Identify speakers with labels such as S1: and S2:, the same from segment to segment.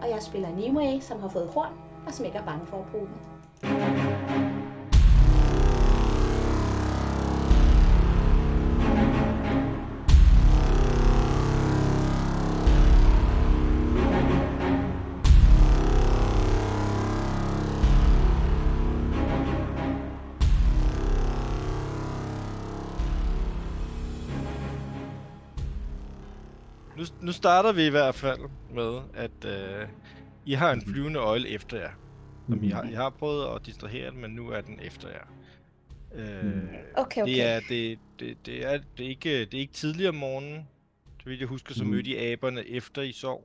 S1: skuespiller Nimue, som har fået horn, og som ikke er bange for at bruge dem.
S2: Nu, nu starter vi i hvert fald med, at øh, I har en flyvende øjle efter jer. Som I, har, I har prøvet at distrahere den, men nu er den efter jer. Øh,
S3: Okay, Mm. okay.
S2: det, er, det, det, det, er, det, er ikke, det er ikke tidligere om morgenen. Så vidt jeg husker, så
S4: Mm.
S2: mødte I aberne efter I sov.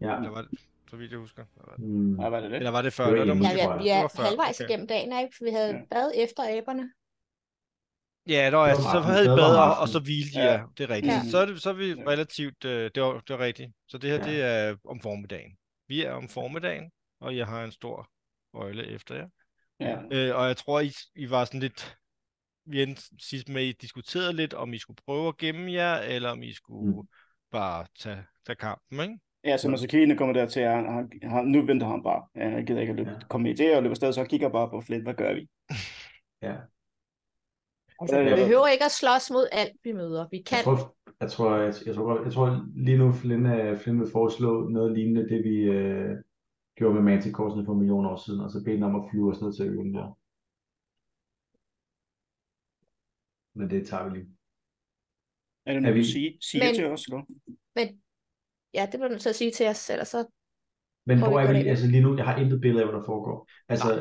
S4: Ja.
S2: Eller var det, så vidt jeg husker. Eller var det-
S4: Mm.
S5: Nej, var det det?
S2: Eller var det før?
S4: Det var
S2: Eller var det
S4: inden.
S3: Ja,
S2: måske
S3: vi
S2: før?
S3: er, vi
S2: Det
S3: er
S2: var før,
S3: halvvejs
S2: okay.
S3: igennem dagen, ikke? For vi havde
S5: Ja.
S3: bad efter aberne.
S2: Ja, nå, altså,
S4: om
S2: så
S4: aftenen.
S2: havde I
S4: Det var om
S2: bedre, og
S4: aftenen.
S2: så hvilede
S5: Ja.
S2: ja. jer. Det er rigtigt.
S3: Ja.
S2: Så, er det, så er vi
S5: Ja.
S2: relativt... Øh, det, var, det var rigtigt. Så det her,
S4: Ja.
S2: det er om formiddagen. Vi er om formiddagen, og jeg har en stor øjle efter jer.
S5: Ja.
S2: Øh, og jeg tror, I, I var sådan lidt... Vi endte sidst med, at I diskuterede lidt, om I skulle prøve at gemme jer, eller om I skulle mm. bare tage, tage kampen, ikke?
S5: Ja, så Masakine kommer der til, at han, han, han, nu venter han bare. Ja, Han gider ikke at løbe,
S4: Ja.
S5: komme med idéer og løbe afsted, så han kigger bare på Flint, hvad gør vi?
S4: Ja.
S3: Altså,
S5: Ja,
S3: vi
S5: ja.
S3: behøver ikke at slås mod alt, vi møder. Vi
S4: Jeg
S3: kan
S4: tror, jeg tror, jeg, jeg, tror, godt- jeg tror lige nu, Flynn, øh, Flynn vil foreslå noget lignende det, vi øh, gjorde med Manticorsene for millioner år siden, og så bede den om at flyve os ned til øen der. Men det tager vi lige.
S5: Er det
S4: Er
S5: noget,
S4: vi-
S5: du siger, siger
S3: Men-
S5: til os? Eller?
S3: Ja, det bliver du nødt til at sige til os, ellers så...
S4: Men
S3: Prøv
S4: hvor
S3: lige
S4: er
S3: at gå
S4: vi?
S3: derind.
S4: Altså lige nu, jeg har intet billede af, hvad der foregår. Altså,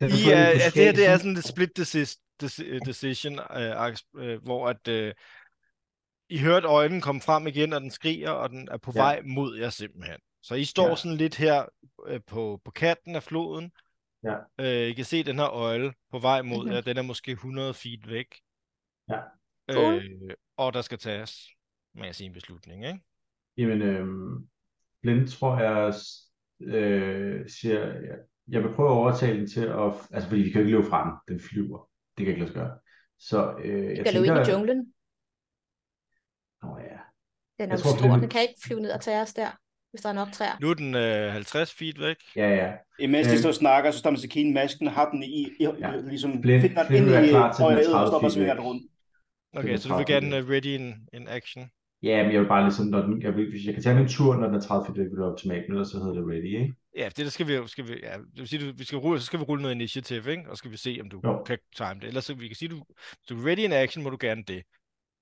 S4: den
S2: Ah. I,
S4: er
S2: er,
S4: på
S2: altså, det her det er
S4: skabelsen.
S2: sådan en split decis- deci- decision, øh, aks- øh, hvor at, øh, I hørte øjnene komme frem igen, og den skriger, og den er på
S4: Ja.
S2: ja. vej mod jer simpelthen. Så I står
S4: Ja.
S2: ja. sådan lidt her øh, på, på kanten af floden.
S4: Ja.
S2: Øh, I kan se den her øjle på vej mod
S3: Mhm.
S2: jer. Den er måske 100 feet væk.
S4: Ja.
S2: Øh, og der skal tages, man kan sige, en beslutning, ikke?
S4: Jamen, øh, Blend tror jeg s- øh, siger, jeg, jeg vil prøve at overtale den til at, altså fordi vi kan jo ikke løbe fra den, den flyver, det kan ikke lade sig gøre. Så øh,
S3: Vi
S4: jeg
S3: kan løbe ind i
S4: tænker,
S3: junglen.
S4: Nå ja,
S3: Den er
S4: Jeg
S3: jo
S4: tror,
S3: stor,
S4: det-
S3: den kan ikke flyve ned og tage os der, hvis der er nok træer.
S2: Nu er den øh, 50 feet væk.
S4: ja, ja.
S5: Imens de
S4: Øh.
S5: står og snakker, så står Masakine masken, har den i, i
S4: Ja.
S5: ja. ligesom
S4: Flint-
S5: finder den
S4: Flint
S5: ind
S4: vil være
S5: i
S4: klar til den
S5: øjet, og
S4: 30
S5: stopper og
S4: feet
S5: svinger
S4: væk.
S5: den rundt.
S2: Okay,
S4: er
S2: så du vil
S4: 30
S2: gerne
S4: feet.
S2: uh, ready en in action.
S4: Ja, men jeg vil bare ligesom, når den, jeg vil, hvis jeg kan tage min tur, når den er 30 feet, væk, vil det være optimalt, men ellers så hedder det ready, ikke?
S2: Ja, det der skal vi, jo- skal vi, ja, det vil sige, du- vi skal rulle, så skal vi rulle noget initiativ, ikke? Og skal vi se, om du
S4: Jo.
S2: kan time det. Ellers så vi kan sige, du, hvis du er ready in action, må du gerne det.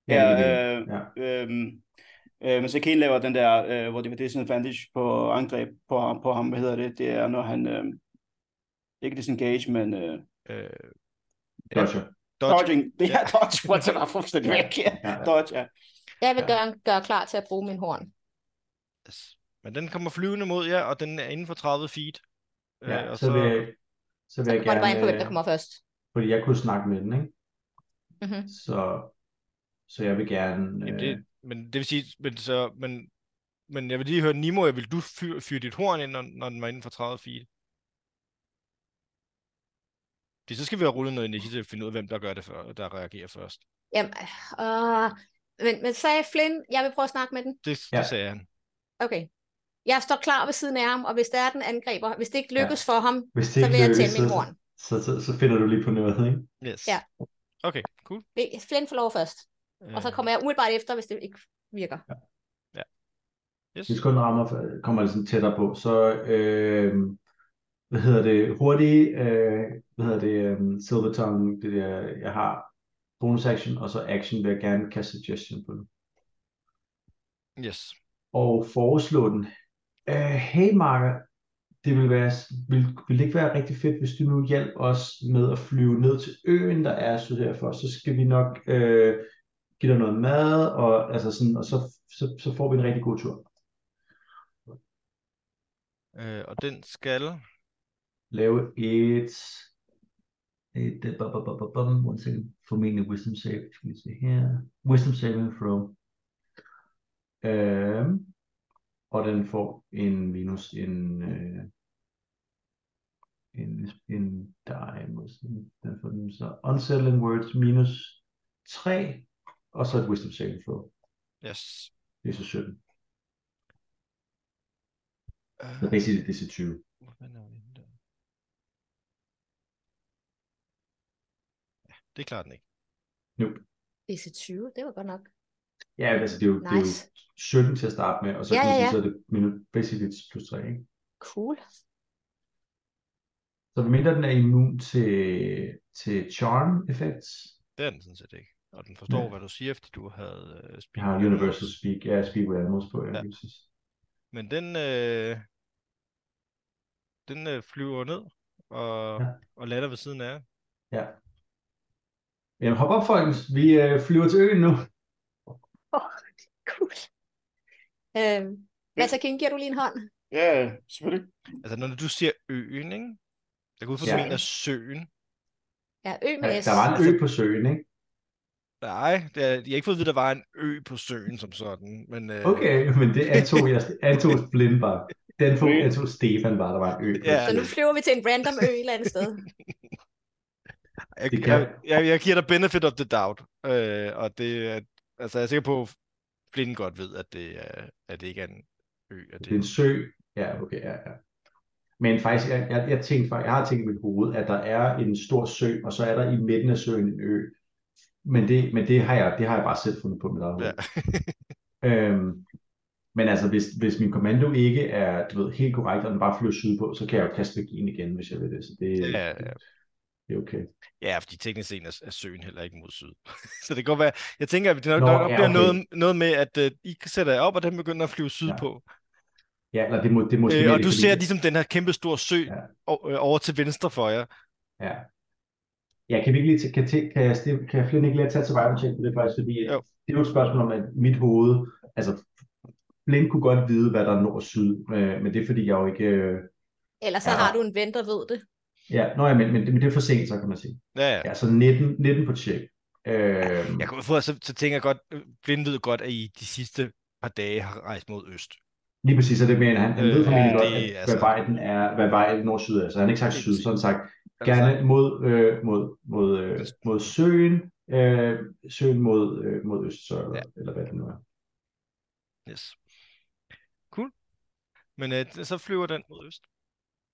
S5: Ja,
S4: det er det.
S5: øh,
S4: Ja.
S5: Øhm, øh, men så Kane laver den der, øh, hvor det var disadvantage på angreb på ham, på ham, hvad hedder det, det er når han, øh, ikke disengage, men øh,
S2: Øh, Ja.
S4: Dodger.
S2: dodge.
S5: dodging, det er dodge, hvor det var fuldstændig væk, ja.
S4: Ja.
S5: dodge, ja.
S3: Jeg vil
S4: Ja.
S3: gøre, gøre klar til at bruge min horn.
S2: Yes. Men den kommer flyvende mod jer, og den er inden for 30 feet. Øh,
S4: Ja,
S2: og
S4: så vil jeg, så vil
S3: Så
S4: jeg
S3: kommer det bare ind på, hvem der
S4: gerne, øh,
S3: kommer først.
S4: fordi jeg kunne snakke med den, ikke?
S3: Mhm.
S4: Så, så jeg vil gerne,
S2: Jamen,
S4: øh,
S2: det, men det vil sige, men, så, men, men jeg vil lige høre, Nimo, vil du fyre fyr dit horn ind, når, når den var inden for 30 feet? Fordi så skal vi have rullet noget initiativ og finde ud af, hvem der gør det, før, der reagerer først.
S3: Jamen, øh, men, men sagde Flynn, jeg vil prøve at snakke med den.
S2: Det,
S4: Ja.
S2: det sagde han.
S3: Okay. Jeg står klar ved siden af ham, og hvis der er den angriber, hvis det ikke
S4: Ja.
S3: lykkes for ham,
S4: hvis det
S3: så
S4: ikke
S3: vil jeg
S4: lykkes,
S3: tænde mit
S4: så-
S3: horn.
S4: så, så, så finder du lige på noget, ikke?
S2: Yes.
S3: Ja.
S2: Okay, cool. Øh,
S3: Vi- Flynn får lov først, og så kommer jeg umiddelbart efter, hvis det ikke virker.
S2: Yes.
S4: Hvis kun rammer, for- kommer det sådan tættere på. Så, øh, hvad hedder det, hurtige, øh, hvad hedder det, øh, silver tongue, det der, jeg har bonus action, og så action vil jeg gerne kaste suggestion på den.
S2: Yes.
S4: Og foreslå den. Øh, hey Marker, det vil, være, vil, vil det ikke være rigtig fedt, hvis du nu hjalp os med at flyve ned til øen, der er syd herfor, så skal vi nok øh, give dig noget mad, og, altså sådan, og så, så, så får vi en rigtig god tur.
S2: Øh, og den skal...
S4: lave et, et uh, bu- bu- bu- bu- bum, one second, formentlig wisdom save, skal vi se her, wisdom saving throw. Øhm, og den får en minus en, øh, en, en die, måske. den får den så unsettling words minus 3, og så et wisdom saving throw,
S2: Yes.
S4: det er så 17.
S2: Øh, uh,
S6: Så basically det er 20.
S2: hvor fanden er den der? Ja, det klarer den ikke.
S3: DC 20, det var godt nok.
S4: Ja, altså det er, jo, nice. det er jo
S3: Nice.
S4: 17 til at starte med, og så,
S3: Ja,
S4: kan man
S3: ja,
S4: sige,
S3: ja.
S4: så er det minus, basically plus 3, ikke?
S3: Cool.
S4: Så medmindre den er immun til, til charm effects,
S2: Det er den sådan set ikke. Og den forstår,
S4: Ja.
S2: hvad du siger, efter du havde øh,
S4: jeg
S2: speak.
S4: har universal speak, ja, speak with animals på, ja,
S2: Ja.
S4: lige præcis.
S2: Men den, øh, den øh, flyver ned og,
S4: Ja.
S2: ja. og lander ved siden af jer.
S4: Ja. Jamen hop op, folkens. Vi øh, flyver til øen nu.
S3: Cool. Øhm, Mads King, giver du lige en hånd?
S5: Ja, selvfølgelig.
S2: Altså, når du siger øen, ikke? Jeg går ud fra, du
S4: Ja.
S2: mener søen.
S3: Ja, ø
S4: Ja,
S3: med S.
S4: der var en ø på søen, ikke?
S2: Nej, det er, jeg har ikke fået at vide, at der var en ø på søen som sådan. Men, øh,
S4: Okay, men det antog jeg, antog Blind bare. Den tog,
S5: Øen.
S4: antog Stefan bare, der var en ø på
S2: Ja.
S3: Så nu
S4: søen.
S3: flyver vi til en random ø et eller andet sted.
S2: Jeg,
S4: Det kan-
S2: jeg, jeg, jeg giver dig benefit of the doubt. Øh, og det er, altså, jeg er sikker på, at Flynn godt ved, at det, er, at det ikke er en ø. At
S4: Det er en sø. Ja, okay, ja, ja. Men faktisk, jeg, jeg, jeg, tænkte, faktisk- jeg har tænkt i mit hoved, at der er en stor sø, og så er der i midten af søen en ø. Men det, men det, har, jeg, det har jeg bare selv fundet på mit eget hoved.
S2: Ja.
S4: Øhm, men altså, hvis, hvis min kommando ikke er du ved, helt korrekt, og den bare flyver sydpå, så kan jeg jo kaste magien igen, hvis jeg vil det. Så det,
S2: Ja, ja.
S4: det, det er okay.
S2: Ja, fordi teknisk set er, er søen heller ikke mod syd. så det kan godt være, jeg tænker, at det nok,
S4: Nå,
S2: nok
S4: ja,
S2: bliver
S4: okay.
S2: noget, noget med, at øh, I sætter jer op, og den begynder at flyve sydpå.
S4: Ja, eller det må, det må
S2: Ja, øh, og du ser ligesom den her kæmpe store sø
S4: Ja.
S2: ja. over til venstre for jer.
S4: Ja. Ja, kan vi ikke lige tage, kan, tæ- kan, jeg, Ste- kan jeg Flynn ikke lige tage survival check på det faktisk, fordi
S2: Jo.
S4: det er jo et spørgsmål om, at mit hoved, altså Flynn kunne godt vide, hvad der er nord og syd, øh, men det er fordi, jeg jo ikke, øh,
S3: Ellers så
S4: Ja.
S3: har du en ven, der ved det.
S4: ja, nå ja, men, men, det- men det er for sent, så kan man sige.
S2: Ja, ja.
S4: Ja, så 19, 19 på check. Øh,
S2: Jeg går ud fra, så, så tænker jeg godt, øh, Blind ved godt, at I de sidste par dage har rejst mod øst.
S4: Lige præcis, så det er mere, end han, han ved
S2: Øh,
S4: formentlig
S5: ja,
S4: godt,
S2: det
S4: at,
S2: er
S4: hvad
S2: sådan.
S4: vej den er, hvad vej nord-syd er, så han har ikke sagt
S2: Lige
S4: syd, så han har sagt,
S2: Altså,
S4: gerne mod, øh, mod, mod, øh, mod søen, øh, søen mod, øh, mod øst, så, eller,
S2: Ja.
S4: eller hvad det nu er.
S2: Yes. Cool. Men øh, det- så flyver den mod øst.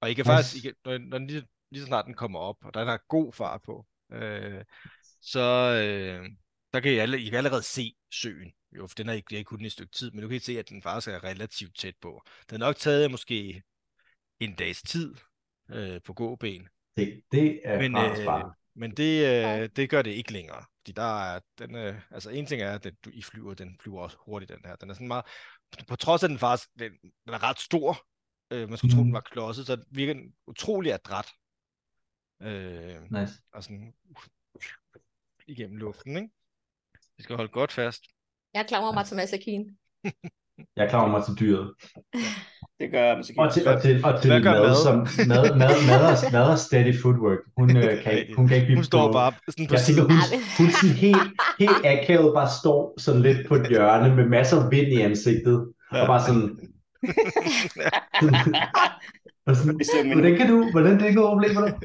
S2: Og I kan
S4: Nice.
S2: faktisk, I kan, når, når den lige, lige så snart den kommer op, og den har god fart på, øh, så øh, der kan I, alle, I kan allerede se søen. Jo, for den har I, I har kun et stykke tid, men nu kan I se, at den faktisk er relativt tæt på. Den har nok taget jer måske en dags tid øh, på gåben,
S4: Det, det er
S2: Men,
S4: bare
S2: øh,
S4: smart.
S2: men det,
S3: Ja.
S2: øh, det gør det ikke længere. Fordi der er, den, øh, altså en ting er, at den, du, I flyver, den flyver også hurtigt, den her. Den er sådan meget, på trods af den faktisk, den, den er ret stor, øh, man skulle tro,
S4: Mhm.
S2: den var klodset, så virker den utrolig adræt. Øh,
S4: Nice.
S2: og sådan igennem luften, ikke? Vi skal holde godt fast.
S3: Jeg klamrer mig til Mads King.
S4: Jeg klarer mig til dyret.
S5: Det gør man så
S4: Og til, og til, og til
S2: Hvad gør
S4: mad,
S2: mad?
S4: som mad, mad, mad, og, mad og steady footwork. Hun, øh, kan, ikke- hun kan ikke blive
S2: Hun står
S4: på-
S2: bare sådan på
S4: Jeg tænker,
S2: siden.
S4: hun, hun sådan helt, helt akavet bare står sådan lidt på et hjørne med masser af vind i ansigtet. Og bare sådan... og sådan
S5: Det ligesom ser
S4: hvordan kan du... Hvordan det ikke problem for dig?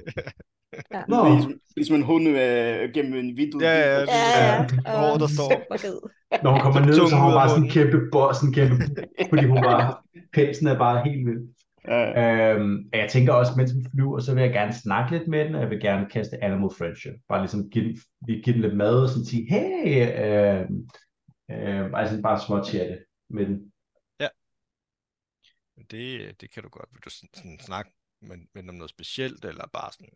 S3: Ja.
S4: Nå,
S5: Ligesom, ligesom en hund øh, gennem en vindu.
S2: Ja, ja,
S3: Ja, ja.
S2: Hvor
S3: Åh,
S2: der står-
S3: super fed.
S4: når hun kommer ned, så har hun bare sådan en kæmpe boss, sådan en kæmpe... Fordi hun bare... Pelsen er bare helt vild.
S5: ja.
S4: Øhm, og jeg tænker også, mens den flyver, så vil jeg gerne snakke lidt med den, og jeg vil gerne kaste Animal Friendship. Bare ligesom give den, lige give den lidt mad og sådan sige, hey, øhm, øhm, altså bare småchatte med den.
S2: Men Det, øh, det kan du godt. Vil du sådan, sådan snakke med, med om noget specielt, eller bare sådan,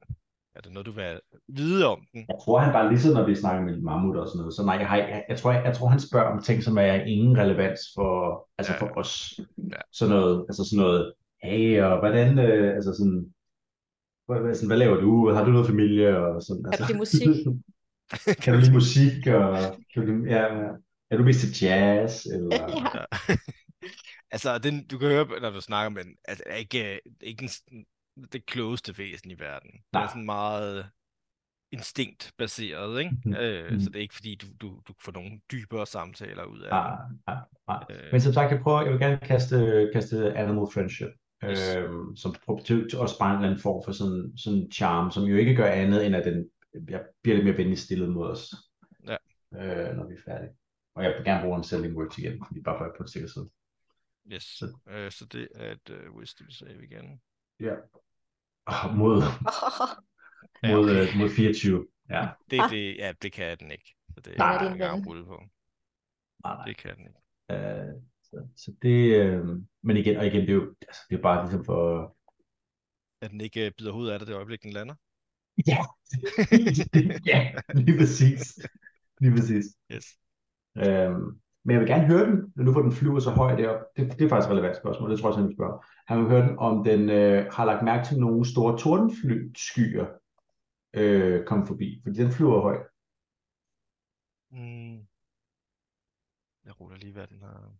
S2: er det noget, du vil have- vide om den?
S4: Jeg tror, han bare ligesom, når vi snakker med mammut og sådan noget, så nej, jeg, har, jeg, jeg, tror, jeg, jeg tror, han spørger om ting, som er ingen relevans for, altså
S2: Ja.
S4: for os.
S2: Ja.
S4: Sådan noget, altså sådan noget, hey, og hvordan, øh, altså sådan, hvad, hvad, sådan, hvad laver du? Har du noget familie? Og sådan,
S3: Kan du
S4: altså.
S3: lide musik?
S4: Kan du lide musik? Og, kan du lide, ja, ja. er du mest til jazz? Eller,
S2: Ja. altså, den, du kan høre, når du snakker med den, altså, er ikke, øh, ikke en, sådan- det klogeste væsen i verden. Det er
S4: Nej.
S2: sådan meget instinktbaseret, ikke?
S4: Mhm.
S2: Øh,
S4: Mhm.
S2: så det er ikke, fordi du, du, du får nogle dybere samtaler ud af
S4: Ah, ah, ah.
S2: det. Øh,
S4: Men som sagt, jeg prøver, jeg vil gerne kaste, kaste Animal Friendship,
S2: Yes.
S4: øhm, som prøver til, til også bare en eller anden form for sådan, sådan charme, som jo ikke gør andet, end at den jeg bliver lidt mere venlig stillet mod os,
S2: Ja.
S4: øh, når vi er færdige. Og jeg vil gerne bruge en selling words igen, fordi bare for at på en sikker side.
S2: Yes.
S4: Så-
S2: Øh, så det er et øh, wisdom save igen.
S4: Oh, mod,
S3: Oh,
S2: Ja,
S4: mod,
S2: okay.
S4: øh, mod 24. Ja.
S2: Det,
S3: Ah.
S2: det, ja, det kan den ikke. Så det
S3: Nej,
S2: er
S3: det er
S2: en
S3: en
S2: gang
S3: ven.
S2: at rulle på.
S4: Nej, nej.
S2: Det kan den ikke.
S4: Øh, så, så det, øh, men igen, og igen, det er jo altså, det er bare ligesom for...
S2: At den ikke øh, bider hovedet af dig det øjeblik, den lander.
S4: Ja, ja lige præcis. Lige præcis.
S2: Yes.
S4: Øhm, men jeg vil gerne høre den, nu hvor den flyver så højt derop. Det, det er faktisk et relevant spørgsmål, det tror jeg, også, han vil spørge. Han vil høre den, om den øh, har lagt mærke til nogle store tordenflyskyer øh, komme forbi, fordi den flyver højt.
S2: Mm. Jeg ruller lige, hvad den har.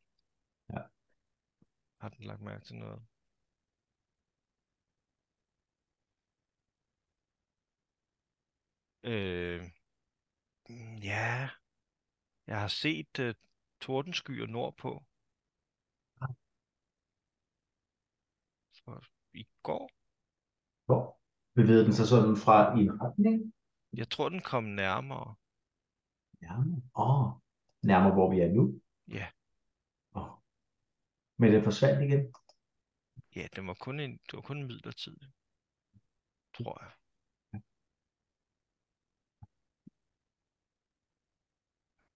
S4: Ja.
S2: Har den lagt mærke til noget? Øh, mm, ja, jeg har set uh, tordenskyer nordpå. For i går.
S4: Hvor bevæger den sig sådan fra i en retning?
S2: Jeg tror, den kom nærmere.
S4: Nærmere. Åh, nærmere, hvor vi er nu.
S2: Ja.
S4: Åh. Men den forsvandt igen.
S2: Ja, den var kun en, det var kun en midlertidig. Tror jeg.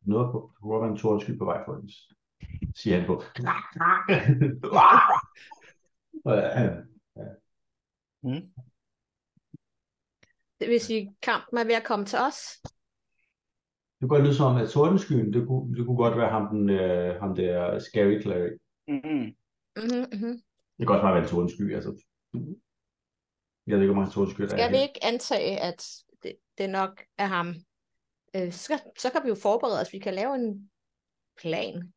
S4: noget på, på grund af en tordensky på vej for os, siger han på. Og, øh,
S5: Mm.
S3: det vil sige, kampen er ved at komme til os.
S4: det kunne godt lyde som om, at tordenskyen, det kunne, det kunne godt være ham, den, øh, ham der Scary Clary.
S5: Mm-hmm.
S3: Mm-hmm, mm-hmm.
S4: Det kan også bare være en tordensky, altså. Jeg ved ikke, hvor mange tordenskyer der
S3: Skal
S4: er.
S3: vi ikke antage, at det, det nok er ham? Øh, så, skal- så kan vi jo forberede os. Vi kan lave en plan.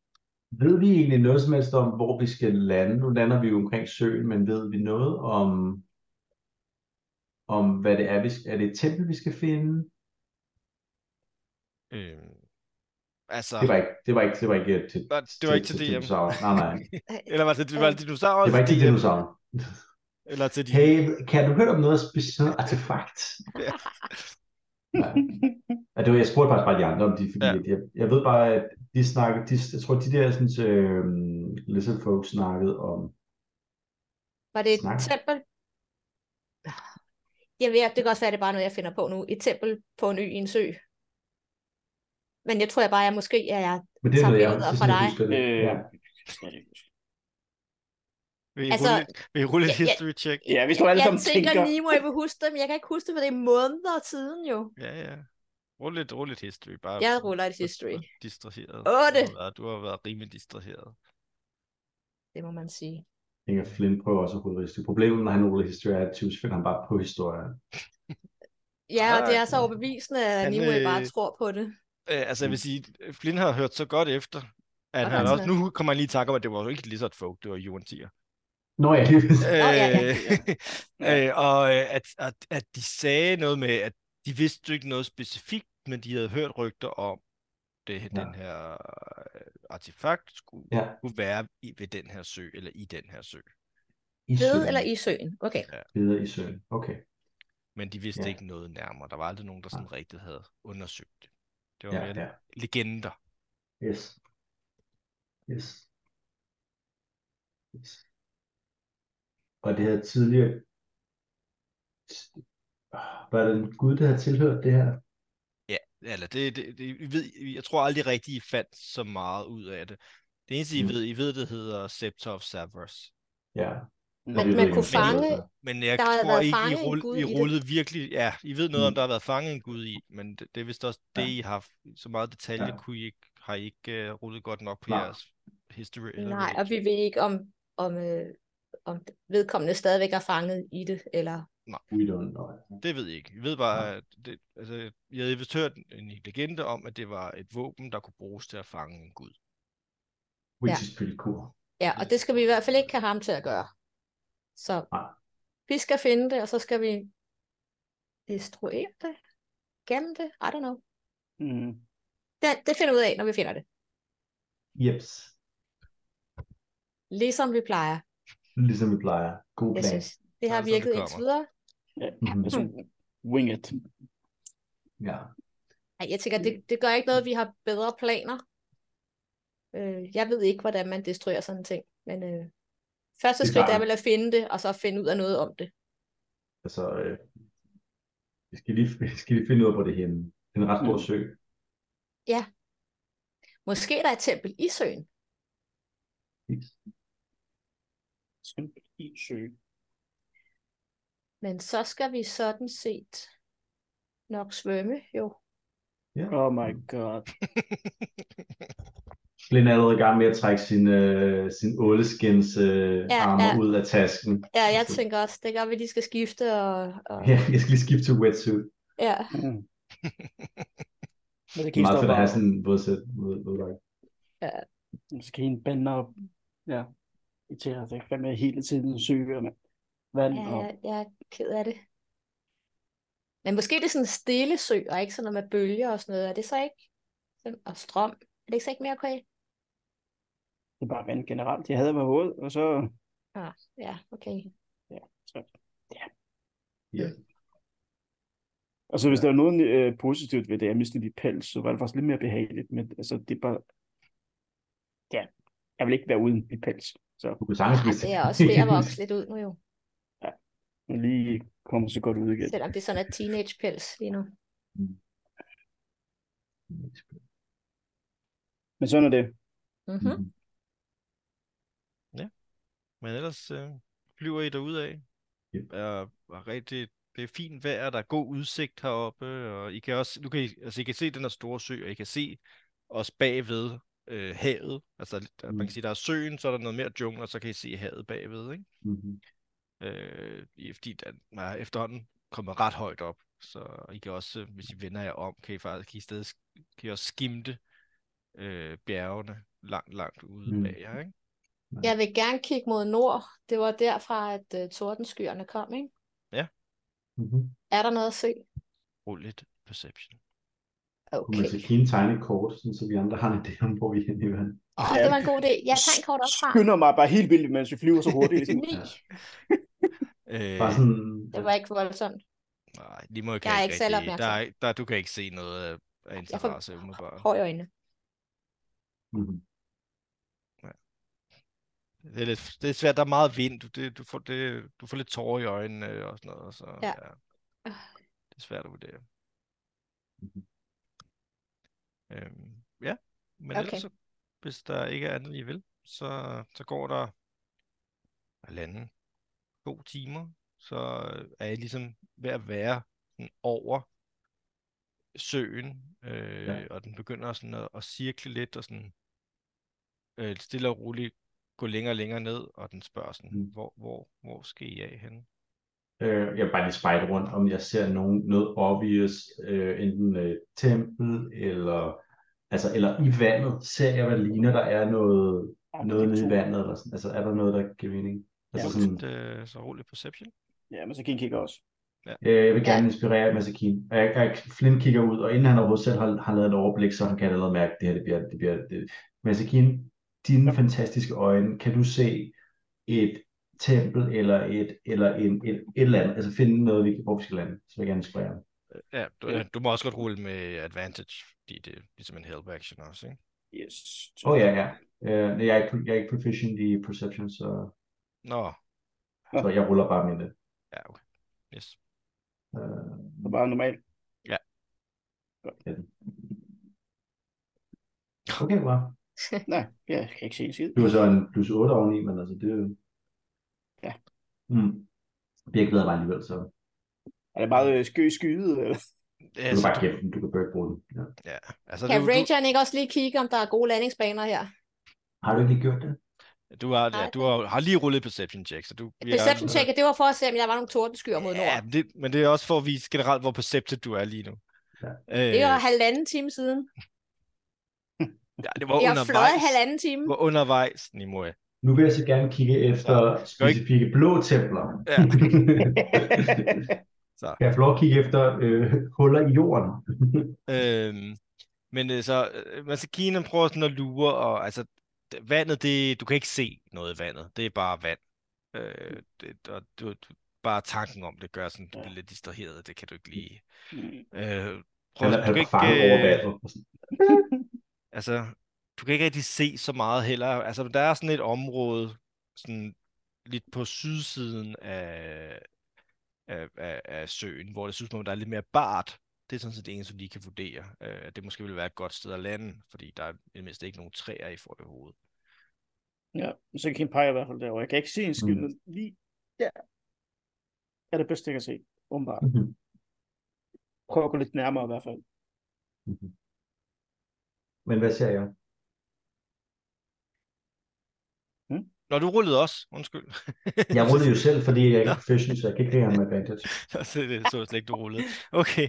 S4: Ved vi egentlig noget som helst om, hvor vi skal lande? Nu lander vi jo omkring søen, men ved vi noget om, om hvad det er, vi skal, er det et tempel, vi skal finde?
S2: Øh, altså,
S4: Det var ikke, det var ikke, det var ikke øh, til,
S2: Nej, det var ikke til DM.
S4: dinosaurer. Nej, nej.
S2: Eller var det, var det dinosaurer?
S4: Det var ikke til
S2: DM?
S4: dinosaurer.
S2: Eller til de...
S4: Hey, kan du høre om noget specielt artefakt?
S2: Ja.
S4: Nej. Ja, det var, jeg spurgte faktisk bare de andre om de, fordi
S2: Ja.
S4: ja. jeg, jeg ved bare, at de snakkede, de, jeg tror, de der sådan, øh, lizard folk snakkede om,
S3: Var det et
S4: Snak.
S3: tempel? Jeg ved, det kan også være, det er bare noget, jeg finder på nu. Et tempel på en ø i en sø. Men jeg tror jeg bare, jeg måske er... Jeg...
S4: men det er
S3: Som
S4: noget, jeg,
S3: billeder
S4: det er
S3: fra
S4: sådan, jeg
S3: dig.
S4: husker det.
S5: Øh,
S4: Ja.
S2: Vil I
S3: Altså,
S2: rulle, vil I rulle et
S3: ja, ja.
S2: history check?
S5: ja, hvis nu alle
S3: Jeg
S5: sammen
S3: tænker,
S5: tænker...
S3: Nemo, jeg vil huske det, men jeg kan ikke huske det, for det er måneder siden jo.
S2: Ja, ja. Rulle et, rulle et history. Bare
S3: Jeg
S2: sådan,
S3: ruller et
S2: så du er
S3: history.
S2: Distraheret.
S3: Otte.
S2: Du har været, du har været rimelig distraheret.
S3: Det må man sige.
S4: Jeg tænker, Flynn prøver også at rydde historie. Problemet, når han ruller historie, er, at typisk finder han bare på historie.
S3: Ja, og det er så
S2: Ah,
S3: overbevisende, at
S2: han,
S3: Nemo jeg bare
S2: øh,
S3: tror på det.
S2: Øh, altså, jeg
S4: Mm.
S2: vil sige, Flynn har hørt så godt efter, at
S3: Og
S2: han
S3: Ransler.
S2: også... Nu kommer han lige i tanke om, at det var jo ikke Lizard Folk, det var Jurantier.
S4: Nå ja, lige præcis.
S2: Øh,
S3: ja, ja.
S5: Ja.
S2: øh, og øh, at, at, at de sagde noget med, at de vidste jo ikke noget specifikt, men de havde hørt rygter om, det,
S4: Ja.
S2: den her øh, artefakt skulle,
S4: Ja.
S2: kunne være i, ved den her sø, eller i den her sø.
S4: I søen.
S3: Ved eller i søen? Okay.
S4: Videre i søen. Okay.
S2: Men de vidste
S4: Ja.
S2: ikke noget nærmere. Der var aldrig nogen, der sådan rigtigt havde undersøgt det. Det var
S4: Ja,
S2: mere
S4: ja.
S2: legender.
S4: Yes. Yes. Yes. Og det havde tidligere... Var det en gud, der havde tilhørt det her?
S2: Eller det, det, det I ved, I- jeg tror aldrig rigtigt, I fandt så meget ud af det. Det eneste, I
S4: Mm.
S2: ved, I ved, det hedder Scepter of Severus.
S4: Ja.
S5: Men
S4: Og vi
S3: man
S4: ved ikke,
S3: kunne
S4: om det er noget,
S3: fange-
S4: der-
S2: Men jeg
S3: Der har
S2: tror
S3: været
S2: ikke, I,
S3: fanget en
S2: rull,
S3: gud
S2: I
S3: i det.
S2: rullede virkelig... Ja, I ved noget om,
S4: Mm.
S2: der har været fanget en gud i, men det, det er vist også det,
S4: Ja.
S2: I har haft. Så meget detalje
S4: Ja.
S2: kunne I ikke, har I ikke uh, rullet godt nok på
S4: Nej.
S2: jeres history. Eller
S3: Nej, og
S2: religion.
S3: vi ved ikke, om, om, øh, om vedkommende stadigvæk er fanget i det, eller...
S4: We don't know.
S2: Det ved jeg ikke. Jeg ved bare,
S4: Nej.
S2: at det, altså, jeg havde vist hørt en legende om, at det var et våben, der kunne bruges til at fange en gud.
S4: Which
S3: Ja.
S4: is pretty cool.
S3: Ja, og det skal vi i hvert fald ikke have ham til at gøre. Så
S4: Nej.
S3: vi skal finde det, og så skal vi destruere det, gemme det, I don't know.
S5: Mm.
S3: Det, det finder vi ud af, når vi finder det.
S4: Jeps.
S3: Ligesom vi plejer.
S4: Ligesom vi plejer. God
S3: Jeg
S4: plan.
S3: synes, det har
S2: Sådan, som det
S3: virket indtil
S2: kommer.
S3: videre.
S4: Mhm.
S5: Altså, wing it.
S4: Ja.
S3: Ej, jeg tænker, det, det gør ikke noget, at vi har bedre planer. Øh, jeg ved ikke, hvordan man destruerer sådan en ting. Men øh, første
S4: Det er
S3: skridt
S4: klart.
S3: er vel at finde det, og så finde ud af noget om det.
S4: Altså, øh, vi, skal lige, vi skal lige finde ud af, hvor det er henne. Det er en ret stor
S5: Mm.
S4: sø.
S3: Måske der er et tempel i søen.
S5: Tempel i sø.
S3: Men så skal vi sådan set nok svømme, jo.
S5: Oh my god.
S4: Glenn er allerede i gang med at trække sin, øh, sin åleskins øh,
S3: Ja,
S4: armer
S3: ja.
S4: ud af tasken.
S3: Ja, jeg
S4: Altså,
S3: tænker også, det gør, at vi lige skal skifte. Og, og,
S4: Ja, jeg skal lige skifte til wetsuit.
S3: ja.
S5: Mm. Men det
S4: Det er
S5: kan
S4: meget fedt at have
S5: bare.
S4: sådan en vådsæt. våd- våddragt.
S5: Så kan en bande op. Ja. I til at det kan med hele tiden søger med vand
S3: Ja,
S5: og...
S3: jeg, jeg er ked af det. Men måske det er sådan en stille sø, og ikke sådan noget med bølger og sådan noget. Er det så ikke? sådan- Og strøm. Er det ikke så ikke mere okay?
S5: Det er bare vand generelt. Jeg havde mig våd, og så...
S3: Ja, okay.
S5: Altså, hvis der er noget øh, positivt ved det, at jeg mistede mit pels, så var det faktisk lidt mere behageligt, men altså, det er bare... Ja, jeg vil ikke være uden mit pels, så
S4: Du kunne sagtens
S3: Ej, det er også ved at vokse lidt ud nu jo.
S5: jeg lige kommer så godt ud igen.
S3: Selvom det sådan er teenagepels lige nu.
S5: Men sådan er det.
S3: Mm-hmm.
S4: Mhm,
S2: Men ellers øh, flyver I derud af.
S4: Ja.
S2: Er, er rigtig, det er fint vejr, der er god udsigt heroppe, og I kan også, nu kan I, altså I kan se den her store sø, og I kan se også bagved øh, havet. Altså der, man
S4: Mm.
S2: kan sige, der er søen, så er der noget mere jungle, og så kan I se havet bagved, ikke?
S4: Mhm.
S2: Øh, i- fordi den er efterhånden kommet ret højt op, så I kan også, øh, hvis I vender jer om, kan I faktisk kan I stedet, kan I også skimte øh, bjergene langt, langt ude
S4: Mm.
S2: bag jer, ikke?
S3: Jeg vil gerne kigge mod nord. Det var derfra, at uh, tordenskyerne kom, ikke?
S4: Mhm.
S3: Er der noget at se?
S2: Rul lidt perception.
S4: Kunne man
S3: Okay.
S4: så kine tegne et kort, sådan, så vi andre har en idé om, hvor vi er henne i verden?
S3: Oh, det var en god idé. Jeg tager en kort op fra.
S5: Skynder mig bare helt vildt, mens vi flyver så hurtigt. Ligesom.
S3: Ni.
S2: Øh,
S4: Bare sådan,
S3: Det var ikke voldsomt.
S2: Nej, lige måde kan
S3: Jeg er
S2: jeg
S3: ikke særlig
S2: rigtig- Der, er ikke- der, du kan ikke se noget øh, af, af
S3: Jeg får
S2: interesse umiddelbart.
S3: hår i øjnene.
S4: Mhm.
S2: Det er, lidt, det er svært, der er meget vind. Du, det, du, får, det, du får lidt tårer i øjnene og sådan noget. Så,
S3: Ja. Øh.
S2: Det er svært at vurdere.
S4: Mhm.
S2: Øhm, ja, men ellers
S3: Okay.
S2: så, hvis der ikke er andet, I vil, så, så går der halvanden, to timer, så er I ligesom ved at være sådan over søen, øh,
S4: Ja.
S2: og den begynder sådan at, at cirkle lidt, og sådan øh, stille og roligt gå længere og længere ned, og den spørger sådan,
S4: Mm.
S2: hvor, hvor, hvor skal I af henne?
S4: Øh, jeg vil bare lige spejde rundt, om jeg ser nogen, noget obvious, øh, enten øh, tempel eller, altså, eller i vandet. Ser jeg, hvad ligner, der er noget, noget nede i vandet? Eller sådan. Altså, er der noget, der giver mening? Altså,
S2: Rul
S4: sådan,
S2: lidt, øh, så rolig perception.
S5: Ja, men så kan I kigge også.
S4: øh, jeg vil
S3: Ja.
S4: gerne inspirere Masakin. Og jeg, jeg, Flynn kigger ud, og inden han overhovedet selv har, har lavet et overblik, så han kan allerede mærke, at det her det bliver... Det bliver det. Masakin, dine fantastiske øjne, kan du se et tempel eller et, eller en, et, et eller andet? Altså finde noget, vi, hvor vi skal lande, så vil jeg gerne inspirere.
S2: Ja, du,
S5: Ja.
S2: du må også godt rulle med advantage, fordi det er ligesom en help action også, ikke?
S5: Yes.
S4: Åh oh, ja, ja. Øh, nej, jeg, er ikke, jeg er ikke proficient i perception, så,
S2: Nå,
S4: så jeg ruller bare med det.
S2: ja, okay. Yes.
S4: Øh,
S5: Så bare normalt.
S4: okay, wow.
S5: Nej, jeg kan ikke se en skid.
S4: Du er så en plus 8 oveni, men altså det er jo...
S5: Ja.
S4: Mm. Det er glæder mig alligevel, så du
S5: Er det bare øh, sky skyet? Eller?
S2: Ja,
S4: kan
S2: så
S4: bare
S2: Altså, du,
S4: gemme den, du kan bare ikke bruge den. Ja.
S2: ja. Altså,
S3: Kan
S2: du, du,
S3: rangeren ikke også lige kigge, om der er gode landingsbaner her?
S4: Har du ikke lige gjort det?
S2: du, har,
S3: Nej,
S2: ja, du har, har lige rullet perception check, så du... bliver-
S3: Perception check, det var for at se, om der var nogle tordenskyer mod nord.
S2: Ja, men det, men det er også for at vise generelt, hvor perceptive du er lige nu. Øh,
S4: Ja.
S3: Det var halvanden time siden.
S2: ja, det var
S3: Jeg har fløjet
S2: undervejs.
S3: halvanden time.
S2: Det var undervejs, Nimue.
S4: Nu vil jeg så gerne kigge efter
S2: skal ikke-
S4: specifikke blå templer.
S2: Ja. Så.
S4: kan jeg få lov at kigge efter øh, huller i jorden?
S2: Øhm, men øh, så, øh, altså Kina prøver sådan at lure, og altså d- vandet, det, du kan ikke se noget i vandet, det er bare vand. Øh, det, og du, du, bare tanken om det gør sådan, du bliver lidt distraheret, og det kan du ikke lige.
S5: Mm.
S2: Øh, prøv,
S4: Eller
S2: du
S4: er
S2: kan øh,
S4: du fanget over
S2: ikke, øh,
S4: vandet?
S2: altså, du kan ikke rigtig se så meget heller. Altså, der er sådan et område, sådan lidt på sydsiden af, af, af, af søen, hvor det synes man, der er lidt mere bart. Det er sådan set det eneste, du lige kan vurdere. Øh, at det måske vil være et godt sted at lande, fordi der er i det mindste ikke nogen træer i forhovedet.
S5: Ja, så kan jeg pege i hvert fald derovre. Jeg kan ikke se en skid,
S4: Mm.
S5: men lige der er det bedste, jeg kan se, åbenbart.
S4: Mhm.
S5: Prøv at gå lidt nærmere i hvert fald.
S4: Mhm. Men hvad ser jeg?
S2: Når du rullede også, undskyld.
S4: Jeg rullede jo selv, fordi jeg ikke er professional, så jeg kan ikke lide med advantage.
S2: så det så jeg slet ikke, du rullede. Okay.